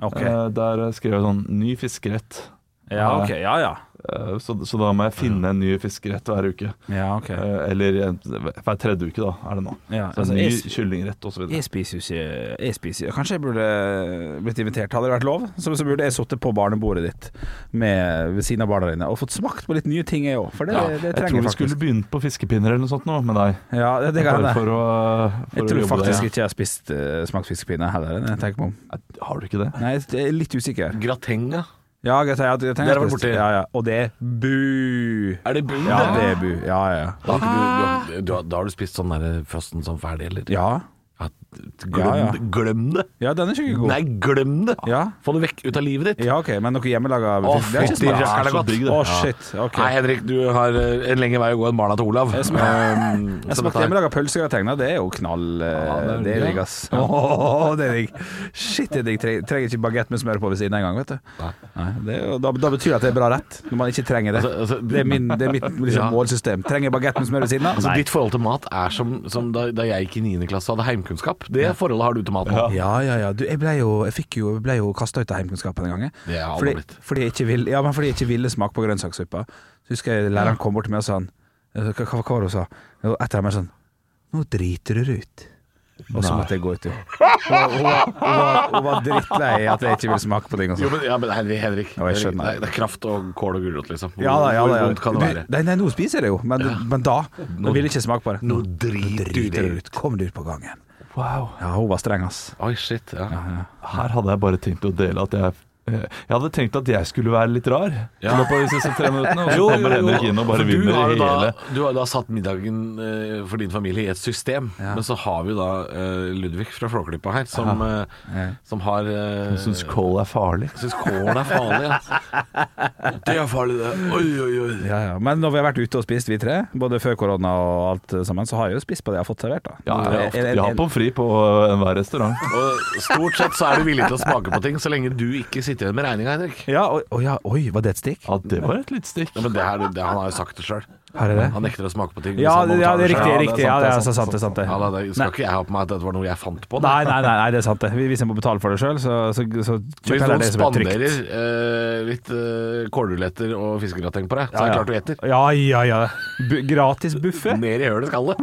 [SPEAKER 5] Ok.
[SPEAKER 4] Eh, Der eh, skrev jeg sånn ny fiskerett.
[SPEAKER 5] Ja, ok. Ja, ja.
[SPEAKER 4] Eh, Så, så da må jeg finne en ny fiskerett hver uke.
[SPEAKER 5] Ja, ok.
[SPEAKER 4] Eh, Eller eh, hver tredje uke, da, er det nå.
[SPEAKER 5] Ja,
[SPEAKER 4] Så
[SPEAKER 5] altså,
[SPEAKER 4] en ny
[SPEAKER 5] jeg-
[SPEAKER 4] kyllingrett osv.
[SPEAKER 5] Jeg spiser jo ikke jeg spiser, Kanskje jeg burde blitt invitert, hadde det vært lov? Så, så burde jeg sittet på barnebordet ditt med, ved siden av barna dine og fått smakt på litt nye ting, jeg òg. For det,
[SPEAKER 3] Ja,
[SPEAKER 5] det, det
[SPEAKER 4] Jeg
[SPEAKER 5] trenger
[SPEAKER 4] tror
[SPEAKER 5] jeg
[SPEAKER 4] vi skulle
[SPEAKER 5] faktisk.
[SPEAKER 4] begynt på fiskepinner eller noe sånt nå med deg.
[SPEAKER 5] Ja, det, det kan
[SPEAKER 4] Bare
[SPEAKER 5] jeg.
[SPEAKER 4] for å, for
[SPEAKER 5] Jeg
[SPEAKER 4] å
[SPEAKER 5] tror
[SPEAKER 4] jobbe
[SPEAKER 5] faktisk
[SPEAKER 4] det.
[SPEAKER 5] ikke jeg har spist eh, smakt fiskepinne heller. enn Jeg tenker meg om
[SPEAKER 4] Nei, Har du ikke det?
[SPEAKER 5] Nei, jeg er litt usikker.
[SPEAKER 3] Gratenga.
[SPEAKER 5] Ja, jeg, jeg, jeg
[SPEAKER 3] Der
[SPEAKER 5] tenker
[SPEAKER 3] var
[SPEAKER 5] spist.
[SPEAKER 3] borti.
[SPEAKER 5] Ja, ja. Og det er bu.
[SPEAKER 3] Er det bunn?
[SPEAKER 5] Ja, det
[SPEAKER 3] det?
[SPEAKER 5] er bu. Ja, ja.
[SPEAKER 3] Da, har ikke du, du, du, da har du spist sånn der frossen som ferdig, eller?
[SPEAKER 5] Ja,
[SPEAKER 3] At- Glem,
[SPEAKER 5] Ja, ja.
[SPEAKER 3] glem det!
[SPEAKER 5] ja den er ikke god.
[SPEAKER 3] Nei, glem det!
[SPEAKER 5] Ja.
[SPEAKER 3] Få det vekk ut av livet ditt.
[SPEAKER 5] Ja, OK, men noe hjemmelaga
[SPEAKER 3] Å,
[SPEAKER 5] Det er ikke
[SPEAKER 3] fytti
[SPEAKER 5] så bra.
[SPEAKER 3] rakkeren, det er godt.
[SPEAKER 5] Å, shit. OK.
[SPEAKER 3] Nei, Henrik, du har eh, en lengre vei å gå enn barna til Olav. Ehm,
[SPEAKER 5] Jeg smakte- Jeg smakte hjemmelaga pølsegrateng. da. Det er jo knall eh,
[SPEAKER 4] det er
[SPEAKER 5] Det er
[SPEAKER 4] digg,
[SPEAKER 5] digg,
[SPEAKER 4] ja.
[SPEAKER 5] ass. Åh, det er digg. Shit, det er digg. Tre- Trenger ikke bagett med smør på ved siden av engang, vet du. Nei, det er, jo- da, da betyr det at det er bra rett, når man ikke trenger det.
[SPEAKER 3] Altså, altså,
[SPEAKER 5] det, er min, det er mitt
[SPEAKER 3] Ja.
[SPEAKER 5] liksom, målsystem. Trenger bagett med smør ved siden av?
[SPEAKER 3] Altså, ditt forhold til mat er som, som da, da jeg gikk i 9. klasse og hadde heimkunnskap. Det forholdet har du til mat nå.
[SPEAKER 5] Ja, ja, ja. Du, jeg ble jo, jeg fikk jo, jeg ble jo kasta ut av heimkunnskapen en gang. jeg.
[SPEAKER 3] Det har alle
[SPEAKER 5] Fordi,
[SPEAKER 3] blitt.
[SPEAKER 5] fordi, jeg ikke ville, ja, men fordi jeg ikke ville smake på grønnsaksuppa. Så husker jeg læreren kom bort til meg og sa han, "Altså, hva, hva, hva var det hun sa? Og etter meg sånn Nå driter du ut. Og så måtte jeg gå ut, jo. Hun, hun, var- hun, var- hun var drittlei at jeg ikke ville smake på ting. Og
[SPEAKER 3] Jo,
[SPEAKER 5] sånn.
[SPEAKER 3] men, ja, men Henrik, Henrik,
[SPEAKER 5] Ja, jeg
[SPEAKER 3] Henrik,
[SPEAKER 5] skjønner.
[SPEAKER 3] det, er, det er kraft og kål og gulrot, liksom. Hvor,
[SPEAKER 5] Ja da, ja da.
[SPEAKER 3] hvor
[SPEAKER 5] Ja.
[SPEAKER 3] vondt kan det være?
[SPEAKER 5] Du, nei, nei, nå spiser jeg det jo, men, men da Nå vil jeg ikke smake på det.
[SPEAKER 3] Nå driter du
[SPEAKER 5] ut. Kom du ut på gangen.
[SPEAKER 4] Wow.
[SPEAKER 5] Ja, hun var streng, ass.
[SPEAKER 3] Oi, shit. Ja.
[SPEAKER 4] Her hadde jeg bare tenkt å dele at jeg Jeg hadde tenkt at jeg skulle være litt rar i løpet av de siste tre minuttene. Og
[SPEAKER 3] Jo,
[SPEAKER 4] så
[SPEAKER 3] jo,
[SPEAKER 4] kommer
[SPEAKER 3] jo.
[SPEAKER 4] Henrik inn og bare
[SPEAKER 3] For du
[SPEAKER 4] vinner
[SPEAKER 3] har jo da-
[SPEAKER 4] hele.
[SPEAKER 3] Du har jo da satt middagen eh, for din familie i et system. Men så har vi jo da eh, Ludvig fra Flåklypa her, som, eh, som har uh,
[SPEAKER 4] Jeg syns kål er farlig.
[SPEAKER 3] Syns kål er farlig, ja. Det er farlig, det. Oi, oi, oi.
[SPEAKER 5] Ja, ja. Men når vi har vært ute og spist, vi tre, både før korona og alt sammen, så har jeg jo spist på det jeg har fått servert. da
[SPEAKER 4] Ja,
[SPEAKER 5] En-
[SPEAKER 4] jeg,
[SPEAKER 5] en-
[SPEAKER 4] jeg har
[SPEAKER 5] en-
[SPEAKER 4] pommes frites på øh, enhver restaurant.
[SPEAKER 3] Og stort sett så er du villig til å smake på ting, så lenge du ikke sitter igjen med regninga, Henrik.
[SPEAKER 5] ja, og, å ja, oi, var det et stikk?
[SPEAKER 4] Ja, det var et lite stikk.
[SPEAKER 3] Ja, men det her, det, Han har jo sagt det sjøl.
[SPEAKER 5] Har jeg det?
[SPEAKER 3] Han nekter å smake på ting. hvis
[SPEAKER 5] Ja,
[SPEAKER 3] han må
[SPEAKER 5] det- ja,
[SPEAKER 3] betale
[SPEAKER 5] det er
[SPEAKER 3] selv.
[SPEAKER 5] riktig.
[SPEAKER 4] Ja, det er sant,
[SPEAKER 5] riktig Ja,
[SPEAKER 4] det
[SPEAKER 5] det er
[SPEAKER 4] er
[SPEAKER 5] sant, det er sant. det er
[SPEAKER 3] Ja,
[SPEAKER 5] sant.
[SPEAKER 3] da, det skal ikke jeg ha på meg at dette var noe jeg fant på. Da.
[SPEAKER 5] Nei, nei, nei, nei, det er sant det. Hvis jeg må betale for det sjøl, så, så, så
[SPEAKER 3] Hvis
[SPEAKER 5] kjøper jeg
[SPEAKER 3] noen
[SPEAKER 5] det som er trygt.
[SPEAKER 3] spanderer eh, litt eh, kålruletter og fiskegrateng på deg, så er det klart du gjetter.
[SPEAKER 5] Ja, ja, ja. Bu gratis buffé.
[SPEAKER 3] Ned i hølet skal det.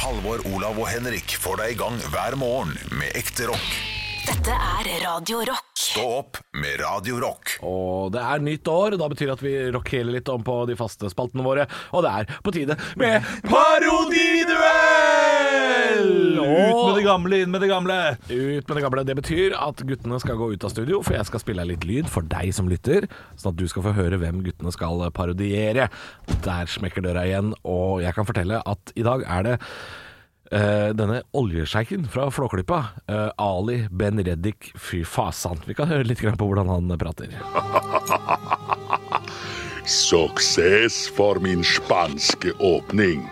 [SPEAKER 1] Halvor, Olav og Henrik får deg i gang hver morgen med ekte rock.
[SPEAKER 2] Dette er Radio Rock.
[SPEAKER 1] Stå opp med Radio Rock.
[SPEAKER 3] Og det er nytt år, og da betyr det at vi rockerer litt om på de faste spaltene våre. Og det er på tide med Parodiduell!
[SPEAKER 4] Ut med det gamle, inn med det gamle!
[SPEAKER 3] Ut med det gamle. Det betyr at guttene skal gå ut av studio, for jeg skal spille litt lyd for deg som lytter, sånn at du skal få høre hvem guttene skal parodiere. Der smekker døra igjen, og jeg kan fortelle at i dag er det eh, denne oljesjeiken fra Flåklypa, eh, Ali Ben Reddik, fy fasan. Vi kan høre litt grann på hvordan han prater.
[SPEAKER 8] Suksess for min spanske åpning.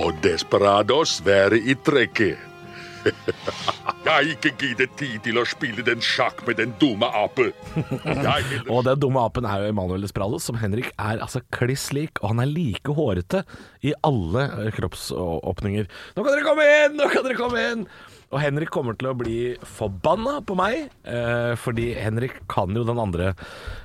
[SPEAKER 8] Og desperados være i trekket. Jeg har ikke giddet tid til å spille den sjakk med den dumme ape. Jeg heller
[SPEAKER 3] Og den dumme apen er jo Emanuel Desperados, som Henrik er altså kliss lik, og han er like hårete i alle eh, kroppsåpninger. Nå kan dere komme inn! Nå kan dere komme inn! Og Henrik kommer til å bli forbanna på meg, eh, fordi Henrik kan jo den andre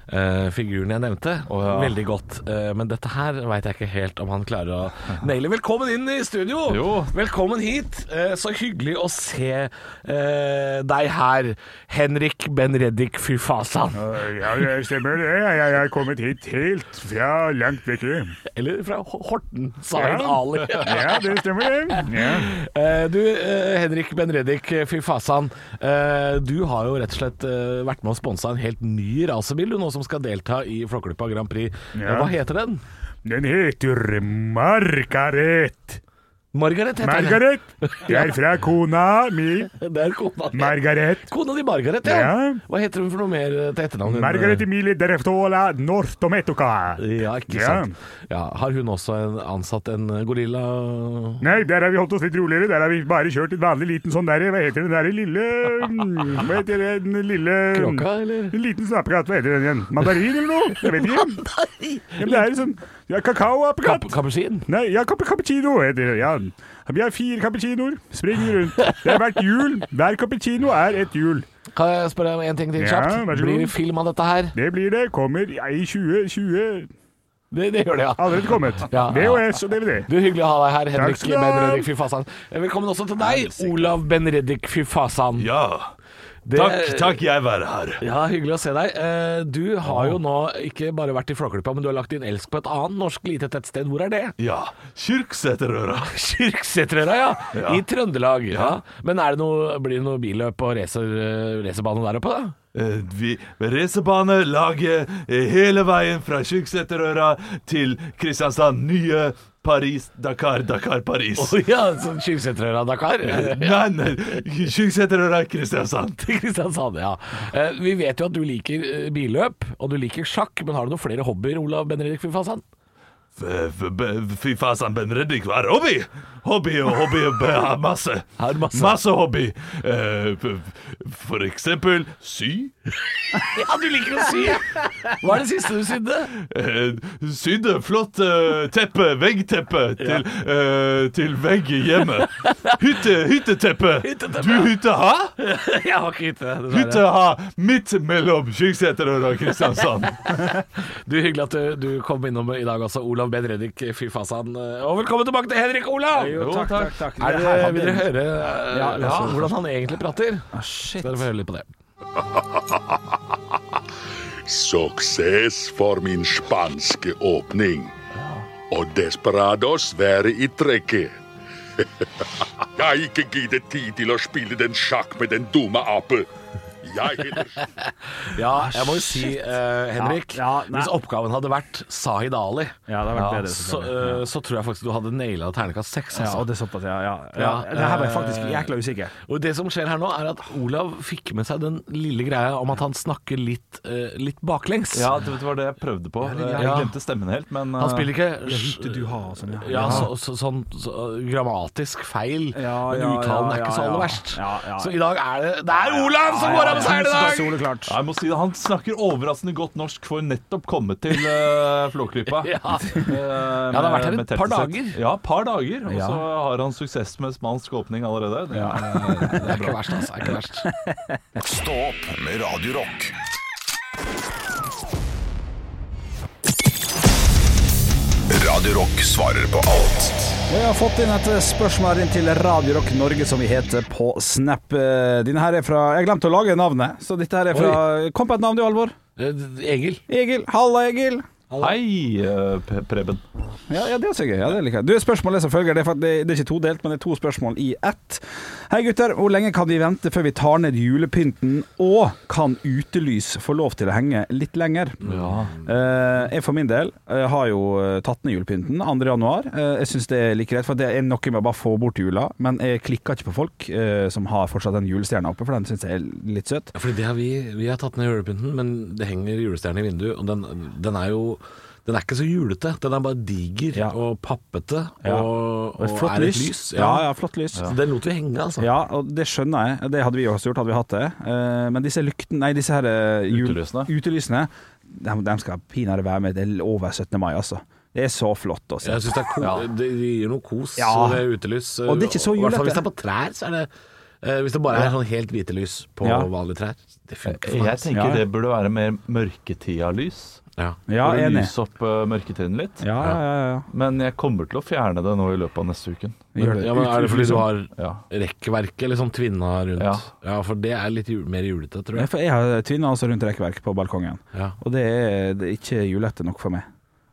[SPEAKER 3] eh, figuren jeg nevnte veldig godt. Eh, men dette her veit jeg ikke helt om han klarer å naile. Velkommen inn i studio!
[SPEAKER 4] Jo.
[SPEAKER 3] Velkommen hit. Eh, så hyggelig å se eh, deg her, Henrik Ben Reddik Fyfasan.
[SPEAKER 9] Ja, det stemmer det. Jeg er kommet hit helt fra langt vekke.
[SPEAKER 3] Eller fra H- Horten, sa hun Ali.
[SPEAKER 9] Ja, det stemmer det. Ja.
[SPEAKER 3] Eh, du, eh, Henrik Benredik, eh, fy fasan. Eh, du har jo rett og slett eh, vært med og sponsa en helt ny racerbil, du nå som skal delta i Flåklypa Grand Prix. Eh,
[SPEAKER 9] Ja.
[SPEAKER 3] Hva heter den?
[SPEAKER 9] Den heter Margaret.
[SPEAKER 3] Margaret heter
[SPEAKER 9] Margaret. Det er fra kona mi,
[SPEAKER 3] den. Det er kona di.
[SPEAKER 9] Margaret.
[SPEAKER 3] Kona di Margaret, ja.
[SPEAKER 9] Ja.
[SPEAKER 3] Hva heter hun for noe mer eh, til etternavn? Hun, eh,
[SPEAKER 9] Margaret Emilie Dereftola Nortometoka.
[SPEAKER 3] Ja, ikke
[SPEAKER 9] Ja.
[SPEAKER 3] sant. Ja, har hun også en, ansatt en eh, gorilla
[SPEAKER 9] Nei, der har vi holdt oss litt roligere. Der har vi bare kjørt en vanlig liten sånn derre Hva heter den derre lille mm, Hva heter det, den lille
[SPEAKER 3] Kråka, eller?
[SPEAKER 9] En liten snapekatt. Hva heter den igjen? Mandarin eller noe? Jeg vet ikke. Ja, men det er liksom ja, Kakaoapekatt.
[SPEAKER 3] Kap Kapusin?
[SPEAKER 9] Nei, ja, kappe cappuccino heter det. Ja. Vi har fire cappuccinoer, springer rundt. Det er hvert hjul. Hver cappuccino er et hjul.
[SPEAKER 3] Kan jeg spørre om en ting til
[SPEAKER 9] Ja,
[SPEAKER 3] kjapt?
[SPEAKER 9] vær så god.
[SPEAKER 3] Blir det film av dette her?
[SPEAKER 9] Det blir det. Kommer ja, i 2020.
[SPEAKER 3] Det, det gjør det, ja.
[SPEAKER 9] Allerede kommet.
[SPEAKER 3] Ja, ja.
[SPEAKER 9] VHS og DVD.
[SPEAKER 3] Du, Hyggelig å ha deg her, Henrik
[SPEAKER 9] skal du ha.
[SPEAKER 3] Benreddik Fyfasan. Eh, Velkommen også til deg, Olav Benreddik Fyfasan.
[SPEAKER 4] Ja.
[SPEAKER 3] Det-
[SPEAKER 4] jeg være her.
[SPEAKER 3] Ja, Hyggelig å se deg. Eh, Du har jo nå ikke bare vært i Flåklypa, men du har lagt din elsk på et annet norsk lite tettsted. Hvor er det?
[SPEAKER 4] Ja. Kyrksæterøra.
[SPEAKER 3] Kyrksæterøra, ja. I Trøndelag. Ja. Men er det noe, blir det noe billøp og racer- eh, racerbane der oppe, da?
[SPEAKER 4] Eh, Vi racerbane laget eh, hele veien fra Kyrksæterøra til Kristiansand. Nye Paris, Dakar, Dakar, Paris. Eh,
[SPEAKER 3] Å ja, sånn Kyrksæterøra, Dakar.
[SPEAKER 4] Nei, nei. Kyrksæterøra, Kristiansand.
[SPEAKER 3] Til Kristiansand, ja. Eh, Vi vet jo at du liker eh, billøp, og du liker sjakk. Men har du noen flere hobbyer, Olav Benreddik Fyfasan?
[SPEAKER 4] F- f- b- Fy fasan, Ben Reddik, hva er hobby? Hobby og hobby og b- har masse.
[SPEAKER 3] Har masse.
[SPEAKER 4] hobby. Eh, f- f- For eksempel sy.
[SPEAKER 3] Ja, du liker å sy! Hva er det siste du sydde?
[SPEAKER 4] Eh, Sydde flott eh, teppe, veggteppe, til, eh, til vegg i hjemmet. Hytte, hytteteppe.
[SPEAKER 3] Hytteteppe.
[SPEAKER 4] Du hytte ha?
[SPEAKER 3] Jeg har ikke hytte.
[SPEAKER 4] Hytte ha midt mellom Kyrksæter og Kristiansand.
[SPEAKER 3] Du, Hyggelig at du, du kom innom i dag også, Olav Ben Reddik. Fy fasan. Og velkommen tilbake til Henrik Olav!
[SPEAKER 5] Jo, takk, takk, takk.
[SPEAKER 3] Er det, vil dere høre eh, ja,
[SPEAKER 5] Ja, la oss høre.
[SPEAKER 3] hvordan han egentlig prater?
[SPEAKER 5] Ah, shit.
[SPEAKER 3] Skal dere få høre litt på det.
[SPEAKER 8] Suksess for min spanske åpning. Og desperados være i trekket. Jeg har ikke giddet tid til å spille den sjakk med den dumme ape. Jeg heter
[SPEAKER 3] Ja, jeg må jo si, eh, Henrik
[SPEAKER 6] Ja, ja, nei.
[SPEAKER 3] Hvis oppgaven hadde vært Sahid Ali,
[SPEAKER 5] Ja, det har vært bedre.
[SPEAKER 3] så,
[SPEAKER 5] selvfølgelig.
[SPEAKER 3] eh, så tror jeg faktisk du hadde naila ternekast seks.
[SPEAKER 5] Ja,
[SPEAKER 3] Altså.
[SPEAKER 5] og det er såpass, ja. ja. ja
[SPEAKER 3] Ja,
[SPEAKER 5] det her ble jeg faktisk
[SPEAKER 3] eh,
[SPEAKER 5] jækla usikker.
[SPEAKER 3] Og det som skjer her nå, er at Olav fikk med seg den lille greia om at han snakker litt, eh, litt baklengs.
[SPEAKER 4] Ja, det var det jeg prøvde på. Eh, Jeg
[SPEAKER 3] ja.
[SPEAKER 4] glemte stemmen helt, men eh,
[SPEAKER 3] Han spiller ikke
[SPEAKER 5] du har og sånn, ja.
[SPEAKER 3] ja, så, så, sånn så, grammatisk feil,
[SPEAKER 5] Ja,
[SPEAKER 3] men
[SPEAKER 5] ja,
[SPEAKER 3] uttalen er
[SPEAKER 5] ja,
[SPEAKER 3] ikke så
[SPEAKER 5] ja,
[SPEAKER 3] aller
[SPEAKER 5] ja.
[SPEAKER 3] verst.
[SPEAKER 5] Ja, ja.
[SPEAKER 3] Så i dag er det Det er Olav som går av med seieren i dag!
[SPEAKER 5] Soleklart.
[SPEAKER 4] Ja, jeg må si det, Han snakker overraskende godt norsk for nettopp komme til uh, Flåklypa.
[SPEAKER 3] Ja.
[SPEAKER 4] Eh,
[SPEAKER 3] det har vært her
[SPEAKER 4] med-
[SPEAKER 3] et
[SPEAKER 4] med
[SPEAKER 3] par
[SPEAKER 4] teltesett.
[SPEAKER 3] dager.
[SPEAKER 4] Ja, par dager. Og
[SPEAKER 5] Ja.
[SPEAKER 4] så har han suksess med spansk åpning allerede. Det-
[SPEAKER 3] Det er ikke verst, altså. Det er ikke verst.
[SPEAKER 1] Stå opp med Radio Rock. Radio Rock svarer på alt.
[SPEAKER 5] Og jeg har fått inn et spørsmål inn til Radio Rock Norge, som vi heter på Snap. Eh, Denne her er fra Jeg glemte å lage navnet, så dette her er fra Kom på et navn, du, Alvor.
[SPEAKER 3] Eh, Egil.
[SPEAKER 5] Egil. Halla, Egil.
[SPEAKER 4] Hei, eh, Pe- Preben.
[SPEAKER 5] Ja, ja det er også gøy. Ja, det liker jeg. Du, spørsmålet er som følger. Det er, fakt- det det er ikke todelt, men det er to spørsmål i ett. Hei gutter, hvor lenge kan vi vente før vi tar ned julepynten, og kan utelys få lov til å henge litt lenger? Eh, jeg for min del eh, har jo eh, tatt ned julepynten 2. januar. Eh, jeg syns det er like greit, for det er noe med å bare få bort jula. Men jeg klikker ikke på folk eh, som har fortsatt den julestjerna oppe, for den syns jeg er litt søt.
[SPEAKER 3] Ja, fordi det har vi, vi har tatt ned julepynten, men det henger julestjerne i vinduet, og den, den er jo den er ikke så julete. Den er bare diger
[SPEAKER 5] Ja.
[SPEAKER 3] og pappete
[SPEAKER 5] Ja.
[SPEAKER 3] og,
[SPEAKER 5] Og
[SPEAKER 3] og,
[SPEAKER 5] et flott
[SPEAKER 3] er et
[SPEAKER 5] lys.
[SPEAKER 3] lys.
[SPEAKER 5] Ja, ja, flott lys.
[SPEAKER 3] Så Den lot vi henge, altså.
[SPEAKER 5] Ja, og det skjønner jeg. Det hadde vi også gjort, hadde vi hatt det. Eh, Men disse lykten, nei, disse her eh, jul-
[SPEAKER 4] Utelysene.
[SPEAKER 5] utelysene de, de skal pinadø være med til over 17. mai, altså. Det er så flott altså. å se.
[SPEAKER 3] Jeg synes det, er ko det det gir noe kos,
[SPEAKER 5] Ja.
[SPEAKER 3] det utelys.
[SPEAKER 5] Og det er ikke så
[SPEAKER 3] I hvert fall
[SPEAKER 5] julete.
[SPEAKER 3] hvis det er på trær, så er det eh, Hvis det bare er sånn helt hvite lys på
[SPEAKER 5] Ja.
[SPEAKER 3] vanlige trær. Det funker for meg.
[SPEAKER 4] Jeg tenker
[SPEAKER 5] Ja.
[SPEAKER 4] det burde være mer mørketida-lys.
[SPEAKER 3] Ja.
[SPEAKER 5] Ja,
[SPEAKER 4] for å
[SPEAKER 5] enig.
[SPEAKER 4] lyse opp eh, mørketiden litt.
[SPEAKER 5] Ja, ja, ja, ja.
[SPEAKER 4] Men jeg kommer til å fjerne det nå i løpet av neste uken.
[SPEAKER 5] Gjør det.
[SPEAKER 3] ja, men Er det fordi du har
[SPEAKER 4] Ja.
[SPEAKER 3] rekkverket liksom tvinna rundt?
[SPEAKER 4] Ja.
[SPEAKER 3] Ja. for det er litt jul mer julete, tror
[SPEAKER 5] Ja,
[SPEAKER 3] jeg.
[SPEAKER 5] for Jeg har tvinna altså rundt rekkverk på balkongen,
[SPEAKER 3] Ja.
[SPEAKER 5] og det er, det er ikke julete nok for meg.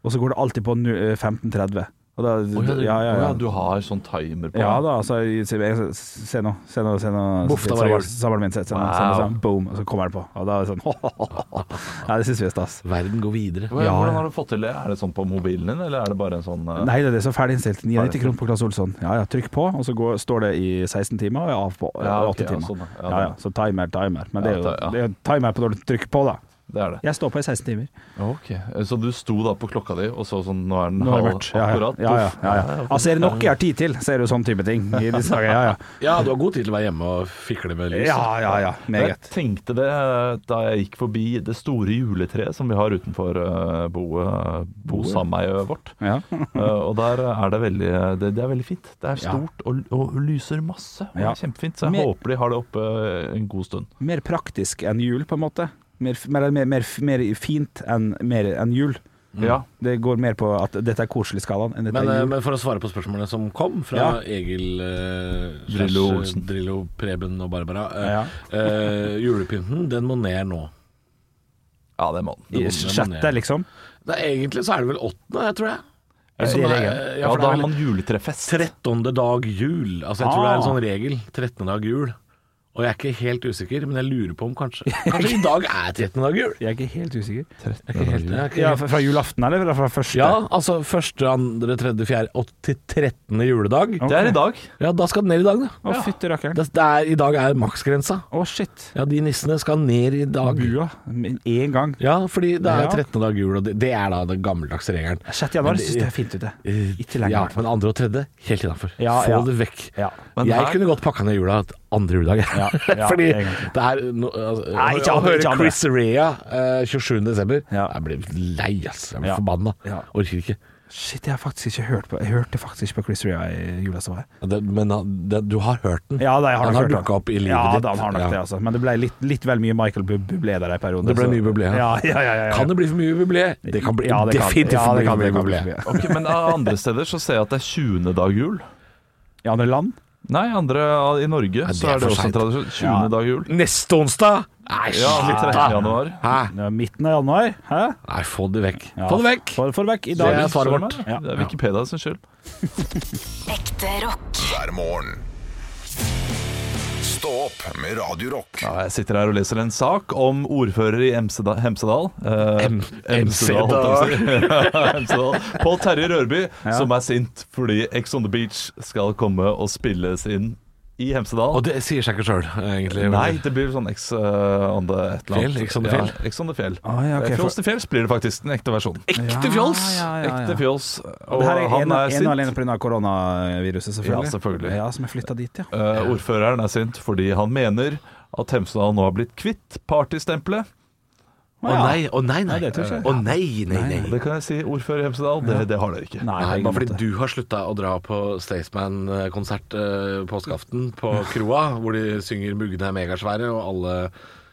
[SPEAKER 5] Og så går det alltid på nu- eh, 15.30. Og da,
[SPEAKER 3] Å, ja,
[SPEAKER 5] ja,
[SPEAKER 3] det-
[SPEAKER 5] ja, ja,
[SPEAKER 4] Å ja, du har sånn timer på
[SPEAKER 5] Ja da, altså jeg- jeg- Se nå, se nå, se nå
[SPEAKER 3] Boff, da var det
[SPEAKER 5] samboeren-
[SPEAKER 3] jul.
[SPEAKER 5] Samboeren min, se, se nå,
[SPEAKER 4] Wow.
[SPEAKER 5] se nå, sånn, boom, og så kommer den på. Og da er det sånn Nei, det syns vi er stas.
[SPEAKER 3] Verden går videre.
[SPEAKER 4] Hvordan
[SPEAKER 5] Ja, ja.
[SPEAKER 4] hvordan har du fått til det? Er det sånn på mobilen din, eller er det bare en sånn eh,
[SPEAKER 5] Nei, det er så ferdig innstilt. 99 kroner på Claes Olsson. Ja ja, trykk på, og så går, står det i 16 timer, og er av på eh,
[SPEAKER 4] Ja,
[SPEAKER 5] 8
[SPEAKER 4] ok, ja,
[SPEAKER 5] timer.
[SPEAKER 4] sånn, ja. Ja,
[SPEAKER 5] ja, ja, så timer, timer. Men det er jo
[SPEAKER 4] Ja, ta- ja.
[SPEAKER 5] det er jo timer på når du trykker på, da.
[SPEAKER 4] Det er det.
[SPEAKER 5] Jeg står på i 16 timer.
[SPEAKER 4] Ok, Eh, Så du sto da på klokka di og så sånn Nå er den
[SPEAKER 5] Nå er det
[SPEAKER 4] halv
[SPEAKER 5] mørkt. Ja, ja.
[SPEAKER 4] akkurat.
[SPEAKER 5] ja, ja, ja, ja. Altså, er det noe jeg har tid til, så er det jo sånn type ting i disse dager. Ja ja.
[SPEAKER 3] Ja, du har god tid til å være hjemme og fikle med lys.
[SPEAKER 5] Ja ja, ja.
[SPEAKER 4] Jeg
[SPEAKER 5] Meget.
[SPEAKER 4] tenkte det eh, da jeg gikk forbi det store juletreet som vi har utenfor eh, boet, bosameiet vårt.
[SPEAKER 5] Ja.
[SPEAKER 4] Eh, og der er det veldig Det, det er veldig fint. Det er stort og, og lyser masse. Og det
[SPEAKER 5] Ja.
[SPEAKER 4] er kjempefint. Så jeg
[SPEAKER 5] Men-
[SPEAKER 4] håper de har det oppe eh, en god stund.
[SPEAKER 5] mer praktisk enn jul, på en måte. Mer, mer, mer, mer, mer fint enn mer enn jul.
[SPEAKER 4] Ja.
[SPEAKER 5] Det går mer på at dette er koselig-skalaen enn dette
[SPEAKER 3] Men, eh,
[SPEAKER 5] er jul.
[SPEAKER 3] men for å svare på spørsmålene som kom fra
[SPEAKER 5] Ja.
[SPEAKER 3] Egil eh,
[SPEAKER 4] Drillo
[SPEAKER 3] slash, eh,
[SPEAKER 4] Olsen.
[SPEAKER 3] Drillo, Preben og Barbara eh,
[SPEAKER 5] Ja.
[SPEAKER 3] eh, Julepynten, den må ned nå.
[SPEAKER 4] ja, det må den.
[SPEAKER 5] I
[SPEAKER 3] det må
[SPEAKER 5] Sjette,
[SPEAKER 3] ned.
[SPEAKER 5] liksom.
[SPEAKER 3] Det er, egentlig så er det vel åttende, jeg tror jeg.
[SPEAKER 5] det
[SPEAKER 3] Som
[SPEAKER 5] regel?
[SPEAKER 3] eh, ja,
[SPEAKER 4] Ja,
[SPEAKER 3] for
[SPEAKER 4] da
[SPEAKER 3] det er
[SPEAKER 4] har
[SPEAKER 3] vel
[SPEAKER 4] man juletrefest.
[SPEAKER 3] trettende dag jul. Altså, jeg tror det er en
[SPEAKER 5] Ah.
[SPEAKER 3] sånn regel. Trettende dag jul. Og jeg er ikke helt usikker, men jeg lurer på om kanskje Kanskje i dag er trettende dag jul?
[SPEAKER 5] Jeg er ikke helt usikker.
[SPEAKER 3] Jeg er ikke helt, jeg er ikke
[SPEAKER 5] Ja,
[SPEAKER 3] helt-
[SPEAKER 5] fra fra julaften, eller? Fra- Fra første?
[SPEAKER 3] ja, altså første, andre, tredje, fjerde, åtte til trettende juledag.
[SPEAKER 4] Det er i dag.
[SPEAKER 3] Ja, da skal den ned i dag, da.
[SPEAKER 5] Å, fytti rakkeren.
[SPEAKER 3] Det, det er, I dag er maksgrensa.
[SPEAKER 5] Å, shit.
[SPEAKER 3] Ja, de nissene skal ned i dag.
[SPEAKER 5] Bua. Med Én gang.
[SPEAKER 3] Ja, fordi det er
[SPEAKER 5] Ja.
[SPEAKER 3] 13. dag jul, og det, det er da den gammeldagse regelen.
[SPEAKER 5] Sjette januar
[SPEAKER 3] Men det-
[SPEAKER 5] syns jeg er fint ute.
[SPEAKER 3] Eh,
[SPEAKER 5] Ikke lenger, i
[SPEAKER 3] Ja,
[SPEAKER 5] hvert fall.
[SPEAKER 3] men andre og tredje, helt innafor.
[SPEAKER 5] Ja,
[SPEAKER 3] Få
[SPEAKER 5] ja.
[SPEAKER 3] det vekk.
[SPEAKER 5] Ja.
[SPEAKER 4] Men
[SPEAKER 3] jeg
[SPEAKER 4] her-
[SPEAKER 3] kunne godt pakka ned jula et andre juledag. jeg.
[SPEAKER 5] ja,
[SPEAKER 3] Fordi
[SPEAKER 5] en gang til.
[SPEAKER 3] det er no, altså,
[SPEAKER 5] Nei, ikke
[SPEAKER 3] Å
[SPEAKER 5] andre, ikke
[SPEAKER 3] høre
[SPEAKER 5] andre.
[SPEAKER 3] Chris Rea eh, 27. desember
[SPEAKER 5] Ja.
[SPEAKER 3] Jeg blir lei, ass. Jeg blir
[SPEAKER 5] Ja.
[SPEAKER 3] forbanna.
[SPEAKER 5] Ja.
[SPEAKER 3] Orker ikke.
[SPEAKER 5] Shit, jeg har faktisk ikke hørt på Jeg hørte faktisk ikke på Chris Rea i jula som var.
[SPEAKER 3] Det, men han- det, du har hørt den.
[SPEAKER 5] Ja, da, jeg har
[SPEAKER 3] han
[SPEAKER 5] nok
[SPEAKER 3] har
[SPEAKER 5] hørt
[SPEAKER 3] dukka opp i livet
[SPEAKER 5] ja,
[SPEAKER 3] ditt.
[SPEAKER 5] da, han har nok
[SPEAKER 3] Ja.
[SPEAKER 5] det, altså. Men det ble litt, litt vel mye Michael Bu- Bublé der i perioden.
[SPEAKER 3] Det ble
[SPEAKER 5] så-
[SPEAKER 3] mye Bublé, ja.
[SPEAKER 5] Ja, ja, ja, ja, ja.
[SPEAKER 3] Kan det bli for mye jubileum? Det kan bli,
[SPEAKER 5] Ja, det kan-
[SPEAKER 3] definitivt
[SPEAKER 5] ja,
[SPEAKER 3] bli
[SPEAKER 5] det kan-
[SPEAKER 3] for
[SPEAKER 5] det
[SPEAKER 3] mye
[SPEAKER 5] kan bli
[SPEAKER 3] jubileum.
[SPEAKER 5] for mye.
[SPEAKER 4] Ok, Men andre steder så ser jeg at det er 20. dag jul.
[SPEAKER 5] I andre land?
[SPEAKER 4] Nei, andre ah, i Norge
[SPEAKER 3] det
[SPEAKER 4] så
[SPEAKER 3] er
[SPEAKER 4] er det
[SPEAKER 3] for
[SPEAKER 4] også en
[SPEAKER 3] sent.
[SPEAKER 4] tradisjon. 20.
[SPEAKER 5] Ja.
[SPEAKER 4] dag jul.
[SPEAKER 3] Neste onsdag? Nei,
[SPEAKER 4] Ja,
[SPEAKER 3] slutt,
[SPEAKER 4] litt 13.
[SPEAKER 3] da.
[SPEAKER 4] januar.
[SPEAKER 3] Hæ?
[SPEAKER 5] Det er Midten av januar? Hæ?
[SPEAKER 3] Nei, få det vekk.
[SPEAKER 5] Ja.
[SPEAKER 3] Få det vekk!
[SPEAKER 5] Få, få det vekk i
[SPEAKER 3] Det
[SPEAKER 5] dag.
[SPEAKER 3] er svaret vårt.
[SPEAKER 4] Ja, Det er Wikipedia sin skyld.
[SPEAKER 2] Ekte rock.
[SPEAKER 1] hver morgen. Stå opp med Radio Rock.
[SPEAKER 4] Ja, jeg sitter her og leser en sak om ordfører i Emseda- Hemsedal. Eh,
[SPEAKER 3] Em-
[SPEAKER 4] Emsedal, holdt jeg på å si. Hemsedal. Pål Terje Rørby, som er sint fordi Ex on the Beach skal komme og spilles inn i Hemsedal.
[SPEAKER 3] Og det sier seg ikke sjøl, egentlig.
[SPEAKER 4] Nei, det blir sånn Ex eh, on the et eller annet.
[SPEAKER 3] Fjell, Ex on the
[SPEAKER 4] Ja,
[SPEAKER 3] Fjell.
[SPEAKER 4] Ex on the Fjell.
[SPEAKER 5] Ah, ja, ok,
[SPEAKER 4] Eh,
[SPEAKER 5] for-
[SPEAKER 4] Fjols til fjells blir det faktisk den ekte versjonen.
[SPEAKER 3] Ekte fjols!
[SPEAKER 4] Ekte fjols. Og
[SPEAKER 5] Det her er
[SPEAKER 4] han
[SPEAKER 5] ene,
[SPEAKER 4] er
[SPEAKER 5] ene og
[SPEAKER 4] sint.
[SPEAKER 5] alene pga. koronaviruset, selvfølgelig.
[SPEAKER 4] Ja, selvfølgelig.
[SPEAKER 5] Ja, Som er flytta dit, ja.
[SPEAKER 4] Eh, ordføreren er sint fordi han mener at Hemsedal nå har blitt kvitt partystempelet.
[SPEAKER 3] Å nei, å nei, nei.
[SPEAKER 5] det tror jeg ikke.
[SPEAKER 3] Å nei, nei, nei.
[SPEAKER 4] Og Det kan jeg si, ordfører i Hemsedal, det, det har dere ikke.
[SPEAKER 5] Nei,
[SPEAKER 3] Nei,
[SPEAKER 5] det er
[SPEAKER 3] bare
[SPEAKER 5] ingen
[SPEAKER 3] fordi
[SPEAKER 5] måte.
[SPEAKER 3] du har slutta å dra på Staysman-konsert eh, påskeaften på kroa, hvor de synger 'Muggene er megasvære', og alle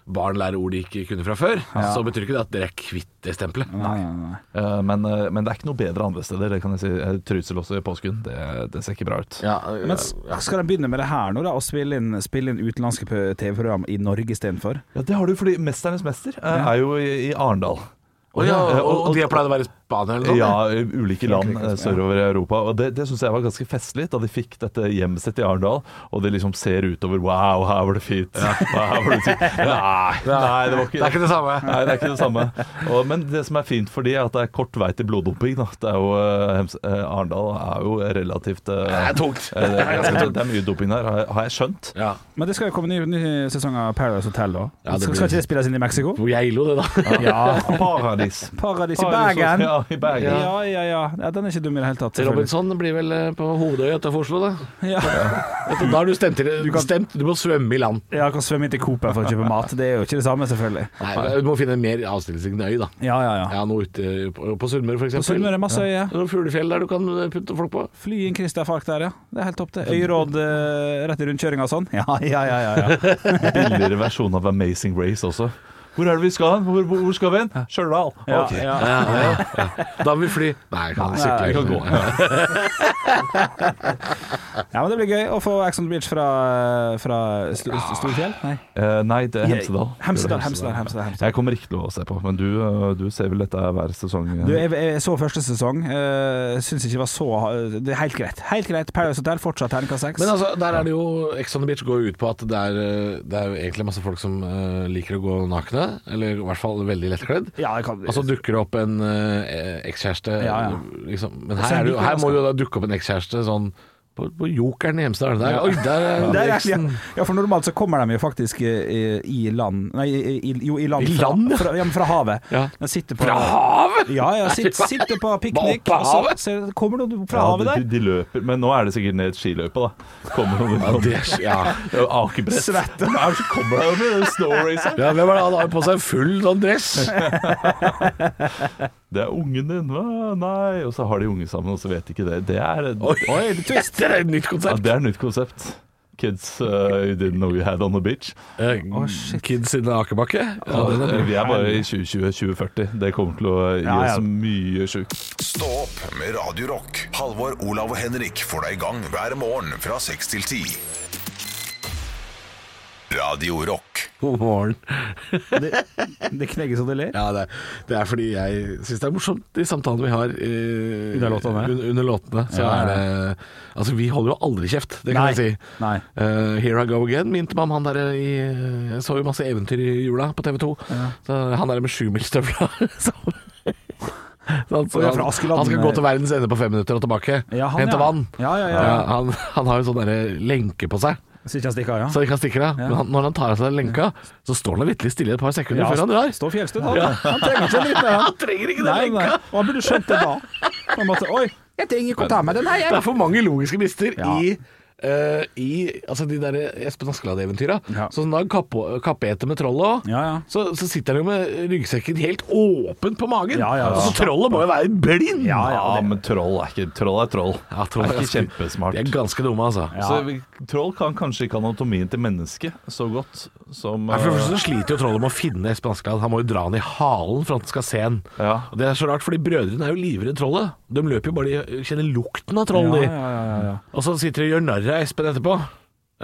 [SPEAKER 3] barn lærer ord de ikke kunne fra før, så betyr ikke det at dere er kvitt det stempelet.
[SPEAKER 5] Nei, nei, nei.
[SPEAKER 4] Eh, Men, eh, men det er ikke noe bedre andre steder. Det kan jeg si. Eh, Trysil også i påsken. Det, det ser ikke bra ut.
[SPEAKER 3] Ja,
[SPEAKER 5] Men s- skal de begynne med det her nå, da? Og spille inn, spille inn utenlandske p- TV-program i Norge istedenfor?
[SPEAKER 4] Ja, Det har du fordi 'Mesternes mester' eh, er jo i, i Arendal.
[SPEAKER 3] og, ja,
[SPEAKER 4] Eh,
[SPEAKER 3] og, og de har pleid å være i Spania eller noe sånt?
[SPEAKER 4] Ja, i ulike land eh, sørover i Europa. Og Det, det syns jeg var ganske festlig da de fikk dette hjemmet sitt i Arendal, og de liksom ser utover Wow, her var det fint. Wow, her var det fint. Nei, nei, det var ikke
[SPEAKER 3] Det er ikke det samme.
[SPEAKER 4] Nei, det er ikke det samme. Og, men det som er fint for de, er at det er kort vei til bloddumping. Da. Det er jo, eh, Hems- eh, Arendal er jo relativt eh,
[SPEAKER 3] Det er tungt.
[SPEAKER 4] eh, det, er ganske tungt. det er mye doping der, har jeg- har jeg skjønt.
[SPEAKER 3] Ja.
[SPEAKER 5] Men det skal jo komme ny, ny sesong av Paradise Hotel,
[SPEAKER 3] Ja,
[SPEAKER 5] da.
[SPEAKER 3] det
[SPEAKER 5] skal,
[SPEAKER 3] blir-
[SPEAKER 5] skal ikke det spilles inn i Mexico?
[SPEAKER 3] Hvor geilo det, da.
[SPEAKER 5] Ja.
[SPEAKER 4] Paradis.
[SPEAKER 5] Paradis Ah. i Bergen!
[SPEAKER 4] Ja, i Bergen.
[SPEAKER 5] Ja, ja, ja. ja Den er ikke dum i det hele tatt. selvfølgelig.
[SPEAKER 3] Robinson blir vel eh, på Hovedøya utenfor Oslo, da.
[SPEAKER 5] Ja.
[SPEAKER 3] Da har du stemt, til, du
[SPEAKER 5] kan-
[SPEAKER 3] stemt. Du må svømme i land.
[SPEAKER 5] Ja, kan svømme inn til Coop her for å kjøpe mat. Det er jo ikke det samme, selvfølgelig.
[SPEAKER 3] Nei, du må finne en mer avstillingsøy, da.
[SPEAKER 5] Ja, ja, ja.
[SPEAKER 3] Ja, noe ute på, på Sunnmøre, for
[SPEAKER 5] På
[SPEAKER 3] eksempel.
[SPEAKER 5] Sunnmøre er det masse øyer.
[SPEAKER 3] Det er noen fuglefjell der du kan putte folk på.
[SPEAKER 5] Fly inn Christer Falk der, ja. Det er helt topp, det. Øyråd eh, rett i rundkjøringa og sånn. Ja, ja, ja. ja, ja.
[SPEAKER 4] Billigere versjon av Amazing Race også. Hvor er det vi skal hen? Hvor, hvor, hvor skal vi hen? Stjørdal.
[SPEAKER 5] ja,
[SPEAKER 4] Ok.
[SPEAKER 5] ja.
[SPEAKER 3] Da må vi fly. Nei, jeg kan sykle.
[SPEAKER 4] vi kan gå.
[SPEAKER 5] ja, men det blir gøy å få Ex on the Beach fra, fra St Storfjell. Nei,
[SPEAKER 4] Eh, nei, det er Hemsedal.
[SPEAKER 5] Hemsedal. Hemsedal, Hemsedal, Hemsedal.
[SPEAKER 4] Jeg kommer ikke til å se på, men du, eh, du ser vel dette er hver sesong? eh.
[SPEAKER 5] Du, jeg, jeg så første sesong. Uh, Syns ikke det var så Det er helt greit. Helt greit. Paradise Hotel fortsatt terningkast seks.
[SPEAKER 3] Men altså, der er det jo Ex on the Beach går jo ut på at det er, eh, det er jo egentlig masse folk som eh, liker å gå nakne, eller i hvert fall veldig lettkledd.
[SPEAKER 5] Ja, det kan
[SPEAKER 3] Og
[SPEAKER 4] altså,
[SPEAKER 3] så dukker det opp en eh, ekskjæreste,
[SPEAKER 5] Ja, ja.
[SPEAKER 3] liksom. Men
[SPEAKER 5] Så
[SPEAKER 3] her, er det, jo-
[SPEAKER 5] liker
[SPEAKER 3] her
[SPEAKER 5] det,
[SPEAKER 3] må jo da dukke opp en ekskjæreste sånn på, på Jokeren i Hjemsdal. Der, Oi, der er
[SPEAKER 5] Det er, ja,
[SPEAKER 3] Eriksen.
[SPEAKER 5] ja, for normalt så kommer de jo faktisk eh, i land Nei, i, i, jo, i
[SPEAKER 3] I
[SPEAKER 5] land.
[SPEAKER 3] land, ja.
[SPEAKER 5] Fra, fra, ja, men fra havet.
[SPEAKER 3] Ja.
[SPEAKER 5] De sitter på,
[SPEAKER 3] Fra havet?!
[SPEAKER 5] Ja, ja, sitt- sitter på piknik,
[SPEAKER 3] Bare på
[SPEAKER 5] og så
[SPEAKER 3] havet?
[SPEAKER 5] ser- kommer noen fra
[SPEAKER 4] Ja,
[SPEAKER 5] havet
[SPEAKER 4] de,
[SPEAKER 5] der.
[SPEAKER 4] de, de løper, men nå er det sikkert ned et skiløype, da. Kommer noen
[SPEAKER 3] Ja, det, ja.
[SPEAKER 4] akebrett. Svette. Hva er det som kommer deg med den snow racer?
[SPEAKER 3] ja, hvem er det? Han har jo på seg full sånn dress.
[SPEAKER 4] Det er ungen din. Hva? Nei. Og så har de unge sammen, og så vet de ikke det. Det er,
[SPEAKER 3] Oi, det er et nytt
[SPEAKER 4] ja,
[SPEAKER 3] konsept.
[SPEAKER 4] det er et nytt konsept. Kids uh, you didn't know you had on the beach.
[SPEAKER 3] Eh, Kids in akebakke. Ja, den er
[SPEAKER 4] Eh,
[SPEAKER 3] bra.
[SPEAKER 4] vi er bare i 2020-2040. Det kommer til å gi
[SPEAKER 5] Ja, ja.
[SPEAKER 4] oss mye sjukt.
[SPEAKER 1] Stå opp med Radio Rock. Halvor, Olav og Henrik får deg i gang hver morgen fra 6 til 10. Radio Rock.
[SPEAKER 3] God morgen.
[SPEAKER 5] Det knegges og det ler.
[SPEAKER 3] Ja, det, er- det er fordi jeg syns det er morsomt, de samtalene vi har eh,
[SPEAKER 5] Under låtene.
[SPEAKER 3] un- under låtene. Så
[SPEAKER 5] Ja, ja.
[SPEAKER 3] er det Altså, vi holder jo aldri kjeft, det kan
[SPEAKER 5] Nei.
[SPEAKER 3] jeg si.
[SPEAKER 5] Nei.
[SPEAKER 3] Eh, Here I Go Again minte meg om han derre i Jeg så jo masse eventyr i jula på TV2. Så Han derre med sjumilsstøvla. så- så han,
[SPEAKER 5] Og det er fra Askeladden. eh.
[SPEAKER 3] han skal gå til verdens ende på fem minutter og tilbake.
[SPEAKER 5] Ja, han,
[SPEAKER 3] Hente
[SPEAKER 5] ja.
[SPEAKER 3] vann.
[SPEAKER 5] Ja, ja, ja.
[SPEAKER 3] han, han har jo sånn derre lenke på seg.
[SPEAKER 5] Så ikke han stikker av,
[SPEAKER 3] Så ikke han stikker av. Men han, når han tar av seg lenka, så står han vitterlig stille et par sekunder
[SPEAKER 5] ja.
[SPEAKER 3] før han drar.
[SPEAKER 5] Stå fjellstøtt, han. Han trenger ikke en liten
[SPEAKER 3] Han trenger ikke den
[SPEAKER 5] Nei, nei.
[SPEAKER 3] lenka!
[SPEAKER 5] Og han burde skjønt det da. På en måte, Oi, jeg trenger ikke å ta med den her,
[SPEAKER 3] Det
[SPEAKER 5] jeg.
[SPEAKER 3] er for mange logiske brister
[SPEAKER 5] Ja.
[SPEAKER 3] i eh, i altså de der Espen Askeladd-eventyra.
[SPEAKER 5] Ja.
[SPEAKER 3] Sånn da Kappe- Kappeete med trollet òg.
[SPEAKER 5] Ja, ja.
[SPEAKER 3] så, så sitter han jo med ryggsekken helt åpen på magen.
[SPEAKER 5] Ja, ja, ja.
[SPEAKER 3] Altså Trollet må jo være blind!
[SPEAKER 5] Ja,
[SPEAKER 4] Ja,
[SPEAKER 5] ja, det,
[SPEAKER 4] men troll er ikke troll. er troll.
[SPEAKER 3] Ja, troll
[SPEAKER 4] er
[SPEAKER 3] er
[SPEAKER 4] ikke kjempesmart.
[SPEAKER 3] De er ganske dumme, altså.
[SPEAKER 4] Så vi, troll kan kanskje ikke anatomien til mennesket så godt som
[SPEAKER 3] Nei, For det første
[SPEAKER 4] eh,
[SPEAKER 3] så sliter jo trollet med å finne Espen Askeladd. Han må jo dra han i halen for at han skal se han.
[SPEAKER 4] Ja.
[SPEAKER 3] Og Det er så rart, fordi brødrene er jo livredde trollet. De løper jo bare de kjenner lukten av troll,
[SPEAKER 5] ja,
[SPEAKER 3] de.
[SPEAKER 5] ja, ja, ja.
[SPEAKER 3] Og så sitter de og gjør narr av Espen etterpå.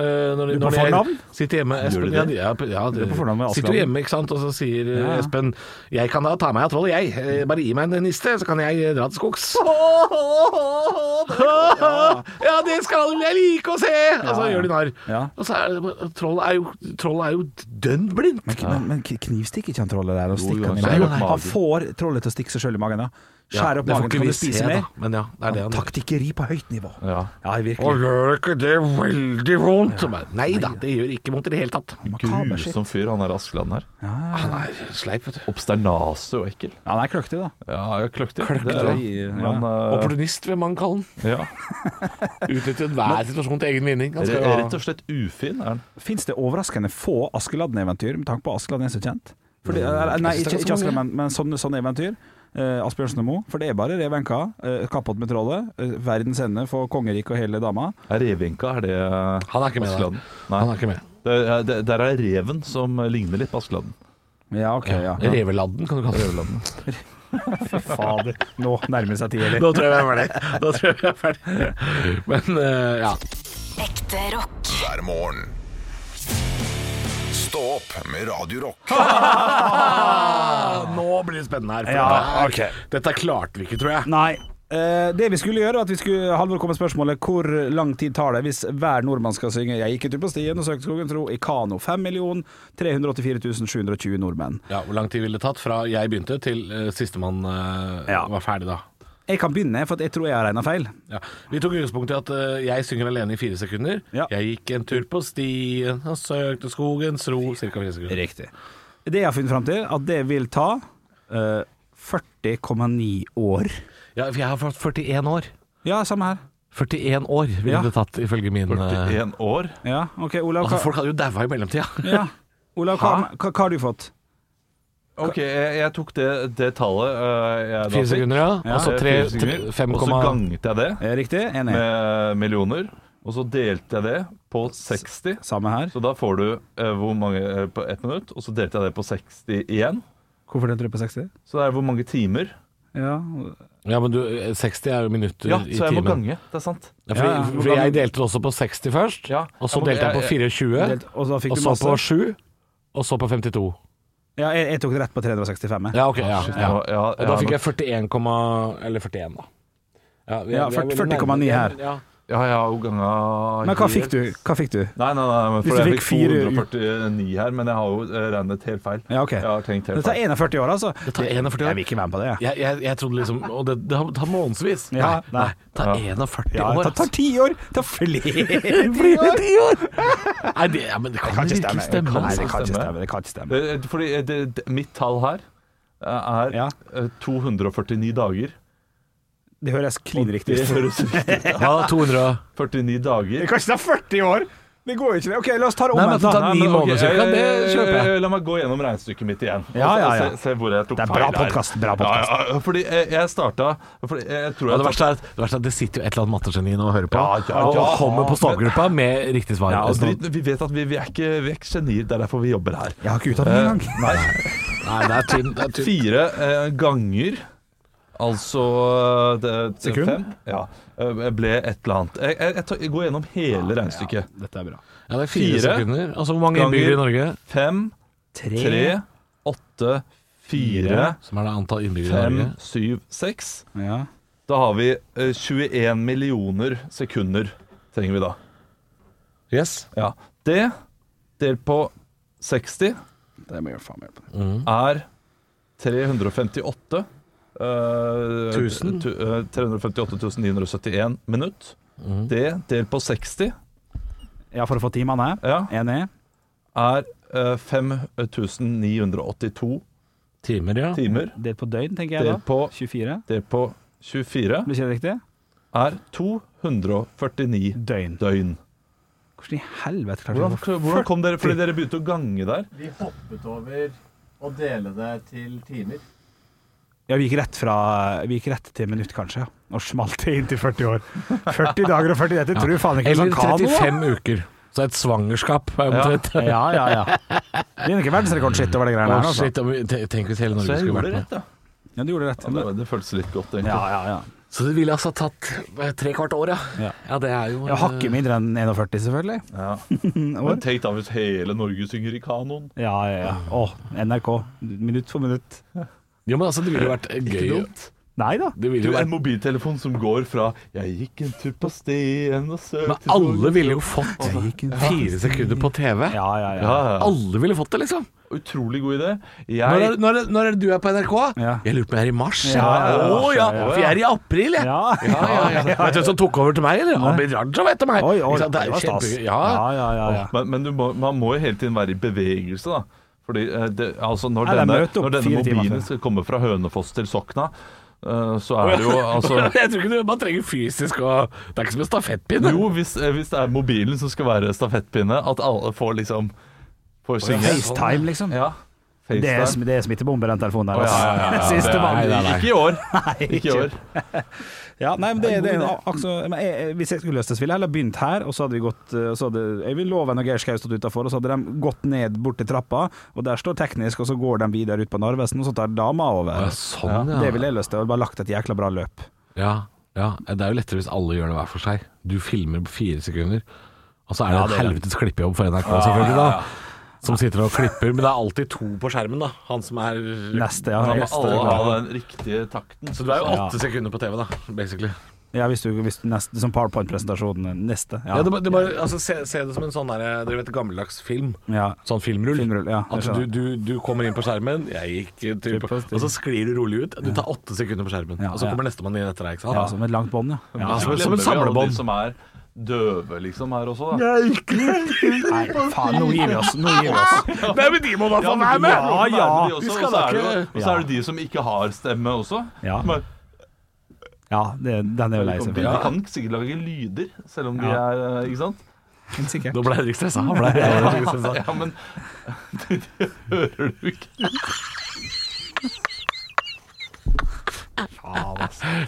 [SPEAKER 3] eh, når de,
[SPEAKER 5] Du på
[SPEAKER 3] når de
[SPEAKER 5] fornavn?
[SPEAKER 3] sitter hjemme Espen,
[SPEAKER 4] du
[SPEAKER 3] ja,
[SPEAKER 4] det?
[SPEAKER 3] de- ja, p- ja,
[SPEAKER 5] er på fornavn med
[SPEAKER 3] Sitter
[SPEAKER 5] Aslan.
[SPEAKER 3] jo hjemme, ikke sant, og så sier eh,
[SPEAKER 5] ja.
[SPEAKER 3] Espen 'Jeg kan da ta meg av trollet, jeg. Eh, Bare gi meg en niste, så kan jeg eh, dra til skogs'. Ja, det skal jeg like å se! Og så
[SPEAKER 5] Ja, ja.
[SPEAKER 3] gjør de narr.
[SPEAKER 5] Ja.
[SPEAKER 3] Og så er det Trollet er jo, trollet er jo dønn blindt.
[SPEAKER 5] Men, men, men knivstikker ikke han trollet der? Og
[SPEAKER 4] Jo,
[SPEAKER 5] stikker
[SPEAKER 4] jo,
[SPEAKER 5] han, i
[SPEAKER 4] han
[SPEAKER 3] skjærer
[SPEAKER 5] magen?
[SPEAKER 3] opp
[SPEAKER 5] han
[SPEAKER 4] magen.
[SPEAKER 5] får trollet til å stikke seg sjøl i magen. Ja. Skjær opp
[SPEAKER 3] det får
[SPEAKER 5] magen,
[SPEAKER 3] ikke
[SPEAKER 5] kan
[SPEAKER 3] vi
[SPEAKER 5] du spise
[SPEAKER 3] se,
[SPEAKER 5] mer?
[SPEAKER 3] da. Men ja, det er det han gjør.
[SPEAKER 5] Taktikkeri på høyt nivå.
[SPEAKER 4] Ja.
[SPEAKER 5] Ja,
[SPEAKER 3] Å,
[SPEAKER 5] virkelig.
[SPEAKER 3] gjør ikke det veldig vondt? Så bare, Nei da, det gjør ikke vondt i det hele tatt.
[SPEAKER 5] Makaber shit.
[SPEAKER 4] Grusom fyr, han er Askeland her.
[SPEAKER 3] Han er sleip, vet du.
[SPEAKER 4] Obsternase og ekkel.
[SPEAKER 5] Ja, han er kløktig, da.
[SPEAKER 4] Ja, ja, kløktig.
[SPEAKER 3] Kløktig,
[SPEAKER 4] Det er han.
[SPEAKER 5] ja.
[SPEAKER 4] Men eh,
[SPEAKER 3] Opportunist, vil man kalle han.
[SPEAKER 4] ja.
[SPEAKER 3] Utnytter enhver situasjon til egen vinning. Han
[SPEAKER 4] Re-
[SPEAKER 3] skal jo ha-
[SPEAKER 4] Rett og slett ufin er han.
[SPEAKER 5] Fins det overraskende få Askeladden-eventyr, med tanke på at Askeladden er så kjent? Fordi, eh, nei,
[SPEAKER 3] Jeg synes det
[SPEAKER 5] ikke,
[SPEAKER 3] er
[SPEAKER 5] ikke
[SPEAKER 3] ganske mange.
[SPEAKER 5] Askeladden, men, men sånne, sånne eventyr. Eh, Asbjørnsen og Moe. For det er bare Revenka, uh, Kappåt med trollet, eh, verdens ende for kongeriket og hele dama.
[SPEAKER 4] Er Revinka, er det
[SPEAKER 3] Han er ikke med,
[SPEAKER 4] Askeladden? Nei.
[SPEAKER 3] Han er ikke med.
[SPEAKER 4] Det, er- det, der er reven som ligner litt på Askeladden.
[SPEAKER 5] Ja, ok, ja.
[SPEAKER 3] Reveladden, kan du kalle det.
[SPEAKER 5] Fader, nå nærmer det seg tid, eller?
[SPEAKER 3] Nå tror jeg vi er ferdig. Nå tror jeg vi er ferdig. Men eh, ja.
[SPEAKER 2] Ekte rock.
[SPEAKER 1] hver morgen. Stå opp med Radio Rock.
[SPEAKER 3] Nå blir det spennende her. For
[SPEAKER 5] Ah! Ja,
[SPEAKER 3] det her- Dette klarte vi ikke, tror jeg.
[SPEAKER 5] Nei. Eh, det vi skulle gjøre, var at vi skulle Halvor kom med spørsmålet hvor lang tid tar det hvis hver nordmann skal synge 'Jeg gikk en tur på stien og søkte skogen tro' i kano. 5 384 720 nordmenn.
[SPEAKER 3] Ja, Hvor lang tid ville det tatt fra jeg begynte til eh, sistemann eh,
[SPEAKER 5] Ja.
[SPEAKER 3] var ferdig, da?
[SPEAKER 5] Jeg kan begynne, for at jeg tror jeg har regna feil.
[SPEAKER 3] Ja. Vi tok utgangspunkt i at eh, jeg synger alene i fire sekunder.
[SPEAKER 5] Ja.
[SPEAKER 3] Jeg gikk en tur på stien og søkte skogens ro. Cirka fire sekunder.
[SPEAKER 5] Riktig. Det jeg har funnet fram til, at det vil ta eh, 40,9 år.
[SPEAKER 3] Ja, for jeg har fått 41 år.
[SPEAKER 5] Ja, samme her.
[SPEAKER 3] 41 år ville
[SPEAKER 5] Ja.
[SPEAKER 3] det tatt, ifølge min eh,
[SPEAKER 4] 41 år.
[SPEAKER 5] Ja, ok, Olav,
[SPEAKER 3] Altså,
[SPEAKER 5] hva,
[SPEAKER 3] folk hadde jo daua i mellomtida.
[SPEAKER 5] ja. Olav hva, hva, hva har du fått?
[SPEAKER 4] Ok, jeg, jeg tok det, det tallet eh, jeg da
[SPEAKER 3] Fire
[SPEAKER 4] fikk.
[SPEAKER 3] sekunder, ja.
[SPEAKER 4] Ja,
[SPEAKER 3] Og så
[SPEAKER 4] eh,
[SPEAKER 3] tre,
[SPEAKER 4] fire sekunder.
[SPEAKER 3] tre- fem
[SPEAKER 4] Og så
[SPEAKER 3] komma
[SPEAKER 4] ganget jeg det
[SPEAKER 5] Eh, Riktig? Enig.
[SPEAKER 4] med millioner, og så delte jeg det på 60.
[SPEAKER 5] Samme her.
[SPEAKER 4] Så da får du eh, hvor mange eh, på ett minutt, og så delte jeg det på 60 igjen.
[SPEAKER 5] Hvorfor delte du på 60?
[SPEAKER 4] Så det er hvor mange timer.
[SPEAKER 5] Ja,
[SPEAKER 3] Ja, men du, eh, 60 er jo minutter
[SPEAKER 4] Ja,
[SPEAKER 3] i
[SPEAKER 4] så jeg må
[SPEAKER 3] timen.
[SPEAKER 4] gange. Det er sant.
[SPEAKER 3] Ja, fordi,
[SPEAKER 5] Ja, ja.
[SPEAKER 3] fordi jeg delte også på 60 først,
[SPEAKER 4] Ja.
[SPEAKER 3] og så
[SPEAKER 4] Jeg må-
[SPEAKER 3] delte jeg
[SPEAKER 4] jeg-
[SPEAKER 3] på
[SPEAKER 4] jeg-
[SPEAKER 3] 24,
[SPEAKER 5] delt, og så fikk
[SPEAKER 3] og
[SPEAKER 5] du
[SPEAKER 3] så
[SPEAKER 5] masse.
[SPEAKER 3] på 7, og så på 52.
[SPEAKER 5] Ja, jeg, jeg tok det rett på 365. jeg.
[SPEAKER 3] Ja, ok. Ja, ja.
[SPEAKER 4] Ja, ja,
[SPEAKER 3] Og da fikk jeg 41, komma- eller 41, da. Ja, vi er-
[SPEAKER 5] Ja,
[SPEAKER 3] vi er veldig
[SPEAKER 5] 40,9 her.
[SPEAKER 3] nærme. Ja.
[SPEAKER 4] Ja, jeg har jo ganga
[SPEAKER 5] Men hva
[SPEAKER 4] helt-
[SPEAKER 5] fikk du? Hva fikk du?
[SPEAKER 4] Nei, nei, nei, men for
[SPEAKER 5] du
[SPEAKER 4] jeg
[SPEAKER 5] fikk
[SPEAKER 4] fikk
[SPEAKER 5] fire
[SPEAKER 4] 249 her, men jeg har jo eh, regnet helt feil.
[SPEAKER 5] Ja, ok.
[SPEAKER 4] Jeg har tenkt helt
[SPEAKER 5] Det tar
[SPEAKER 4] feil.
[SPEAKER 5] 41 år, altså.
[SPEAKER 3] Det tar 41
[SPEAKER 5] Jeg
[SPEAKER 3] år.
[SPEAKER 5] vil ikke være med på det. jeg.
[SPEAKER 3] Jeg, jeg, jeg trodde liksom Og det, det tar månedsvis.
[SPEAKER 5] Ja,
[SPEAKER 3] nei, nei,
[SPEAKER 5] nei.
[SPEAKER 3] det tar 41
[SPEAKER 5] Ja,
[SPEAKER 3] år.
[SPEAKER 5] det tar
[SPEAKER 3] altså.
[SPEAKER 5] 10 år! Det tar flere år!
[SPEAKER 3] Nei, det, ja, men det kan,
[SPEAKER 5] Det kan ikke
[SPEAKER 3] virkelig
[SPEAKER 5] stemme.
[SPEAKER 3] stemme.
[SPEAKER 5] Nei,
[SPEAKER 3] altså.
[SPEAKER 5] det kan ikke stemme. Det kan ikke stemme.
[SPEAKER 4] Eh, Fordi eh, det, det, mitt tall her eh, er
[SPEAKER 5] Ja.
[SPEAKER 4] eh, 249 dager.
[SPEAKER 5] Det høres klin riktig
[SPEAKER 4] Det
[SPEAKER 5] ut.
[SPEAKER 4] høres riktig ut.
[SPEAKER 3] Ja, 200
[SPEAKER 4] 49 dager.
[SPEAKER 5] kan ikke ta 40 år! Det går jo ikke. det. Ok, la oss ta det
[SPEAKER 3] Nei, men
[SPEAKER 5] omvendt.
[SPEAKER 3] ta
[SPEAKER 5] da.
[SPEAKER 3] ni
[SPEAKER 4] men, ok,
[SPEAKER 3] måneder, så
[SPEAKER 4] eh,
[SPEAKER 3] kan det kjøper jeg.
[SPEAKER 4] eh, La meg gå gjennom regnestykket mitt igjen.
[SPEAKER 5] Ja,
[SPEAKER 4] Og så-
[SPEAKER 5] ja, ja.
[SPEAKER 4] Se, se hvor jeg tok
[SPEAKER 5] Det er
[SPEAKER 4] feil
[SPEAKER 5] bra
[SPEAKER 4] her.
[SPEAKER 5] podcast, bra podcast.
[SPEAKER 4] Ja, ja, fordi jeg, jeg starta fordi jeg, jeg tror
[SPEAKER 3] ja,
[SPEAKER 4] jeg
[SPEAKER 3] det, verste er, at- det verste er at det sitter jo et eller annet mattegeni nå og hører på,
[SPEAKER 4] Ja, ja, ja.
[SPEAKER 3] og kommer på stavgruppa med riktig svar.
[SPEAKER 4] ja,
[SPEAKER 3] Altså,
[SPEAKER 4] drit, Vi vet at vi, vi er ikke vi er ikke genier, det er derfor vi jobber her.
[SPEAKER 5] Jeg har ikke utdannet engang. Nei.
[SPEAKER 3] Nei, det er tynt. Det er tynt.
[SPEAKER 4] Fire eh, ganger Altså eh, det,
[SPEAKER 5] Sekund?
[SPEAKER 4] Fem, ja. eh, Ble et eller annet. Jeg, jeg, jeg, tar, jeg går gjennom hele regnestykket.
[SPEAKER 5] Dette er bra.
[SPEAKER 3] Ja, det er fire,
[SPEAKER 4] Fire
[SPEAKER 3] sekunder. Altså, hvor mange
[SPEAKER 4] ganger-
[SPEAKER 3] innbyggere i Norge?
[SPEAKER 4] Fem, tre, åtte, fire,
[SPEAKER 3] Som er det antall innbyggere i
[SPEAKER 4] fem,
[SPEAKER 3] Norge?
[SPEAKER 4] syv, seks.
[SPEAKER 5] Ja.
[SPEAKER 4] Da har vi eh, 21 millioner sekunder trenger vi da.
[SPEAKER 3] Yes.
[SPEAKER 4] Ja. Det delt på 60
[SPEAKER 5] Det må jeg faen meg hjelpe.
[SPEAKER 3] Mm.
[SPEAKER 4] er 358 eh,
[SPEAKER 3] Tusen?
[SPEAKER 4] tu- eh, 358 971 minutt. Det delt på 60
[SPEAKER 5] Ja, for å få timene.
[SPEAKER 4] ja,
[SPEAKER 5] Enig.
[SPEAKER 4] er eh, 5982
[SPEAKER 3] Timer, ja.
[SPEAKER 4] timer.
[SPEAKER 5] Delt på døgn, tenker jeg da.
[SPEAKER 4] Delt på,
[SPEAKER 5] 24.
[SPEAKER 4] delt på 24
[SPEAKER 5] Blir ikke det riktig?
[SPEAKER 4] er 249
[SPEAKER 5] Døgn.
[SPEAKER 4] døgn.
[SPEAKER 5] Hvordan i helvete klarte
[SPEAKER 4] Hvordan,
[SPEAKER 5] jeg
[SPEAKER 4] hvordan kom dere Fordi dere begynte å gange der.
[SPEAKER 10] Vi hoppet over å dele det til timer.
[SPEAKER 5] Ja, vi gikk rett fra Vi gikk rett til minutt, kanskje. ja. Og smalt det inn til 40 år. 40 dager og 40 netter. Tror du faen ikke
[SPEAKER 3] Eller
[SPEAKER 5] sånn kano? da?
[SPEAKER 3] 35 uker. Så et svangerskap er omtrent.
[SPEAKER 5] Ja, ja, ja. Det er ikke verdensrekordskitt over de greiene
[SPEAKER 3] Å,
[SPEAKER 5] her, altså.
[SPEAKER 3] shit, om vi- te- Tenk hvis hele
[SPEAKER 4] Så
[SPEAKER 3] Norge
[SPEAKER 4] jeg
[SPEAKER 3] skulle
[SPEAKER 4] gjorde
[SPEAKER 3] vært med.
[SPEAKER 4] rett, ja.
[SPEAKER 5] Ja, du gjorde rett.
[SPEAKER 4] ja det, det føltes litt godt, egentlig.
[SPEAKER 5] Ja, ja, ja.
[SPEAKER 3] Så det ville altså tatt eh, tre kvart år, ja.
[SPEAKER 5] Ja.
[SPEAKER 3] Ja, det er jo
[SPEAKER 5] Ja, hakket mindre enn 41, selvfølgelig.
[SPEAKER 4] Men tenk da hvis hele Norge synger i kanon.
[SPEAKER 5] Ja, ja, ja. Å, NRK. Minutt for minutt.
[SPEAKER 3] Jo, men altså, det ville jo vært eh, gøy.
[SPEAKER 4] dumt.
[SPEAKER 5] Nei da.
[SPEAKER 3] Det
[SPEAKER 4] Du,
[SPEAKER 3] ville jo
[SPEAKER 4] en
[SPEAKER 3] vært
[SPEAKER 4] mobiltelefon som går fra 'jeg gikk en tur på stien og søkte
[SPEAKER 3] Men alle ville jo fått fire sekunder på TV.
[SPEAKER 5] Ja, ja, ja.
[SPEAKER 4] ja, ja.
[SPEAKER 3] Alle ville fått det, liksom.
[SPEAKER 4] Utrolig god idé.
[SPEAKER 3] Når er,
[SPEAKER 4] Jeg,
[SPEAKER 3] når, er, når er det du er på NRK?
[SPEAKER 5] Ja.
[SPEAKER 3] Jeg lurer på om jeg er i mars.
[SPEAKER 5] Ja, ja, ja.
[SPEAKER 3] Å ja, for jeg er i april, jeg.
[SPEAKER 5] Ja.
[SPEAKER 3] Ja, ja, ja. Vet du hvem som tok over til meg, eller? Abid Raja vet du meg.
[SPEAKER 5] Oi, oi,
[SPEAKER 3] Ikke sant?
[SPEAKER 5] det var
[SPEAKER 3] jo
[SPEAKER 5] stas.
[SPEAKER 3] kjempegøy.
[SPEAKER 5] Ja, ja, ja. ja.
[SPEAKER 4] men men du må, man må jo hele tiden være i bevegelse, da. Fordi eh, det, altså når,
[SPEAKER 5] Nei, det er
[SPEAKER 4] denne,
[SPEAKER 5] møte opp
[SPEAKER 4] når denne
[SPEAKER 5] fire timer
[SPEAKER 4] mobilen
[SPEAKER 5] før.
[SPEAKER 4] skal komme fra Hønefoss til Sokna, eh, så er det jo altså
[SPEAKER 3] Jeg tror ikke du, man trenger fysisk og Det er ikke som en stafettpinne.
[SPEAKER 4] Jo, hvis, eh, hvis det er mobilen som skal være stafettpinne, at alle får liksom Får synge.
[SPEAKER 5] FaceTime, liksom.
[SPEAKER 4] Ja.
[SPEAKER 5] Det er,
[SPEAKER 4] FaceTime.
[SPEAKER 5] sm- det er smittebombe, den telefonen der. altså.
[SPEAKER 4] Å, ja, ja, ja, ja.
[SPEAKER 5] Siste mann.
[SPEAKER 4] Nei, nei, nei. Ikke i år. Ikke i
[SPEAKER 5] ikke.
[SPEAKER 4] år.
[SPEAKER 5] Ja, nei, men det, det, er en- altså, men jeg, jeg- hvis jeg skulle løst det, så ville jeg heller begynt her, og så hadde vi gått eh, og så hadde Øyvind Loven og Geir Skau stått utafor, og så hadde de gått ned bort til trappa, og der står teknisk, og så går de videre ut på Narvesen, og så tar dama over.
[SPEAKER 3] sånn,
[SPEAKER 5] Det ville jeg løst til, og bare lagt et jækla bra løp.
[SPEAKER 3] Ja, ja, det er jo lettere hvis alle gjør det hver for seg. Du filmer på fire sekunder, og så er det en helvetes klippejobb for NRK, selvfølgelig, da. Som sitter og klipper, men det er alltid to på skjermen, da. Han som er
[SPEAKER 5] Neste, ja.
[SPEAKER 3] Han er
[SPEAKER 5] Neste,
[SPEAKER 4] Alle
[SPEAKER 3] alle,
[SPEAKER 4] har den riktige takten.
[SPEAKER 3] Så du er jo åtte sekunder på TV, da, basically.
[SPEAKER 5] Ja, hvis du, hvis du neste, som PowerPoint-presentasjonen neste. Ja,
[SPEAKER 3] Ja, det, er bare- det er bare, altså, se, se det som en sånn derre Dere vet gammeldags film?
[SPEAKER 5] Ja.
[SPEAKER 3] Sånn filmrull.
[SPEAKER 5] Filmrull, ja, jeg
[SPEAKER 3] At du,
[SPEAKER 5] skjønner.
[SPEAKER 3] du, du kommer inn på skjermen, jeg gikk typ,
[SPEAKER 5] Typ på stil.
[SPEAKER 3] og så sklir du rolig ut. Du tar åtte sekunder på skjermen,
[SPEAKER 5] Ja,
[SPEAKER 3] og så
[SPEAKER 5] ja.
[SPEAKER 3] kommer nestemann inn etter deg. Ikke sant?
[SPEAKER 5] Ja, som Altså, et langt bånd, ja. ja.
[SPEAKER 3] Ja, som,
[SPEAKER 4] Så
[SPEAKER 3] som et
[SPEAKER 4] glemmer vi alle de
[SPEAKER 3] samlebånd.
[SPEAKER 4] Som er døve, liksom, her også, da.
[SPEAKER 5] Nei, faen, nå gir vi oss. Nå gir vi oss.
[SPEAKER 3] Nei, men de må da få være med!
[SPEAKER 4] Ja, ja,
[SPEAKER 3] de
[SPEAKER 4] Og
[SPEAKER 3] skal
[SPEAKER 4] så
[SPEAKER 3] da
[SPEAKER 4] er det jo
[SPEAKER 3] ikke-
[SPEAKER 4] og så er det de som ikke har stemme også.
[SPEAKER 5] Ja.
[SPEAKER 4] Som er-
[SPEAKER 5] Ja, det, den er jo lei,
[SPEAKER 4] de
[SPEAKER 5] selvfølgelig.
[SPEAKER 4] kan sikkert lage lyder, selv om de
[SPEAKER 5] Ja.
[SPEAKER 4] er eh, Ikke sant?
[SPEAKER 5] Helt sikkert.
[SPEAKER 3] Nå ble Henrik stressa. Han ble Henrik stressa.
[SPEAKER 4] Ja, men det hører du ikke.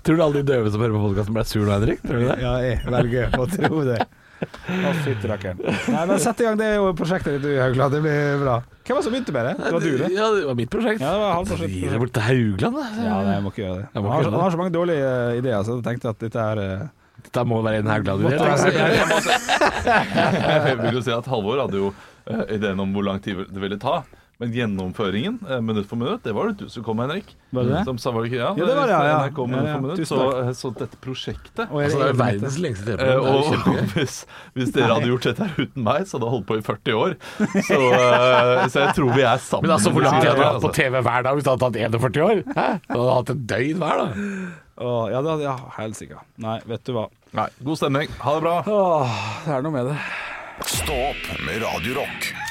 [SPEAKER 3] Tror du alle de døve som hører på podkasten, ble sur nå, Henrik? Tror du det?
[SPEAKER 5] Ja, jeg velger å tro det. Å, fytti rakkeren. Nei, men sett i gang det er jo prosjektet ditt, du, Haugland. Det blir bra. Hvem var det som begynte med det? Det var du, det?
[SPEAKER 3] Ja, det var mitt prosjekt.
[SPEAKER 5] Ja, det var hans prosjekt.
[SPEAKER 3] Gi det bort til Haugland, da.
[SPEAKER 5] Ja, nei, jeg må ikke gjøre det.
[SPEAKER 3] Jeg
[SPEAKER 5] Han
[SPEAKER 3] må ikke
[SPEAKER 5] har,
[SPEAKER 3] gjøre det.
[SPEAKER 5] han har så mange dårlige eh, ideer, så jeg tenkte at dette er eh,
[SPEAKER 3] Dette må være en Haugland-idé.
[SPEAKER 4] Jeg,
[SPEAKER 3] liksom.
[SPEAKER 4] jeg, må si- jeg vil jo si at Halvor hadde jo eh, ideen om hvor lang tid det ville ta. Men gjennomføringen, eh, minutt for minutt, det var det du som kom med, Henrik.
[SPEAKER 5] Var det det?
[SPEAKER 4] Som sa, var det ikke, ja,
[SPEAKER 5] Ja, det var det, ja, ja.
[SPEAKER 4] NRK minutt
[SPEAKER 5] Ja, ja.
[SPEAKER 4] for minutt,
[SPEAKER 5] Tusen
[SPEAKER 4] så,
[SPEAKER 5] takk.
[SPEAKER 4] eh, så dette prosjektet
[SPEAKER 5] og
[SPEAKER 3] Altså, det er jo
[SPEAKER 5] egne-
[SPEAKER 3] verdens lengste
[SPEAKER 4] Eh,
[SPEAKER 3] TV-program. Det er jo
[SPEAKER 4] og
[SPEAKER 3] kjempegøy.
[SPEAKER 4] hvis, hvis dere hadde gjort dette her uten meg, så hadde jeg holdt på i 40 år. Så, eh, så jeg tror vi er sammen.
[SPEAKER 3] Men altså, hvor lang tid hadde du hatt på
[SPEAKER 4] Altså.
[SPEAKER 3] TV hver dag hvis du hadde tatt 41 år? Hæ? Du hadde hatt et døgn hver, da.
[SPEAKER 5] eh. Å, Ja, da- ja, helt sikkert. Nei, vet du hva.
[SPEAKER 4] Altså, Nei, god stemning. Ha det bra.
[SPEAKER 5] Åh, det er noe med det.
[SPEAKER 1] Stå opp med Radio Rock.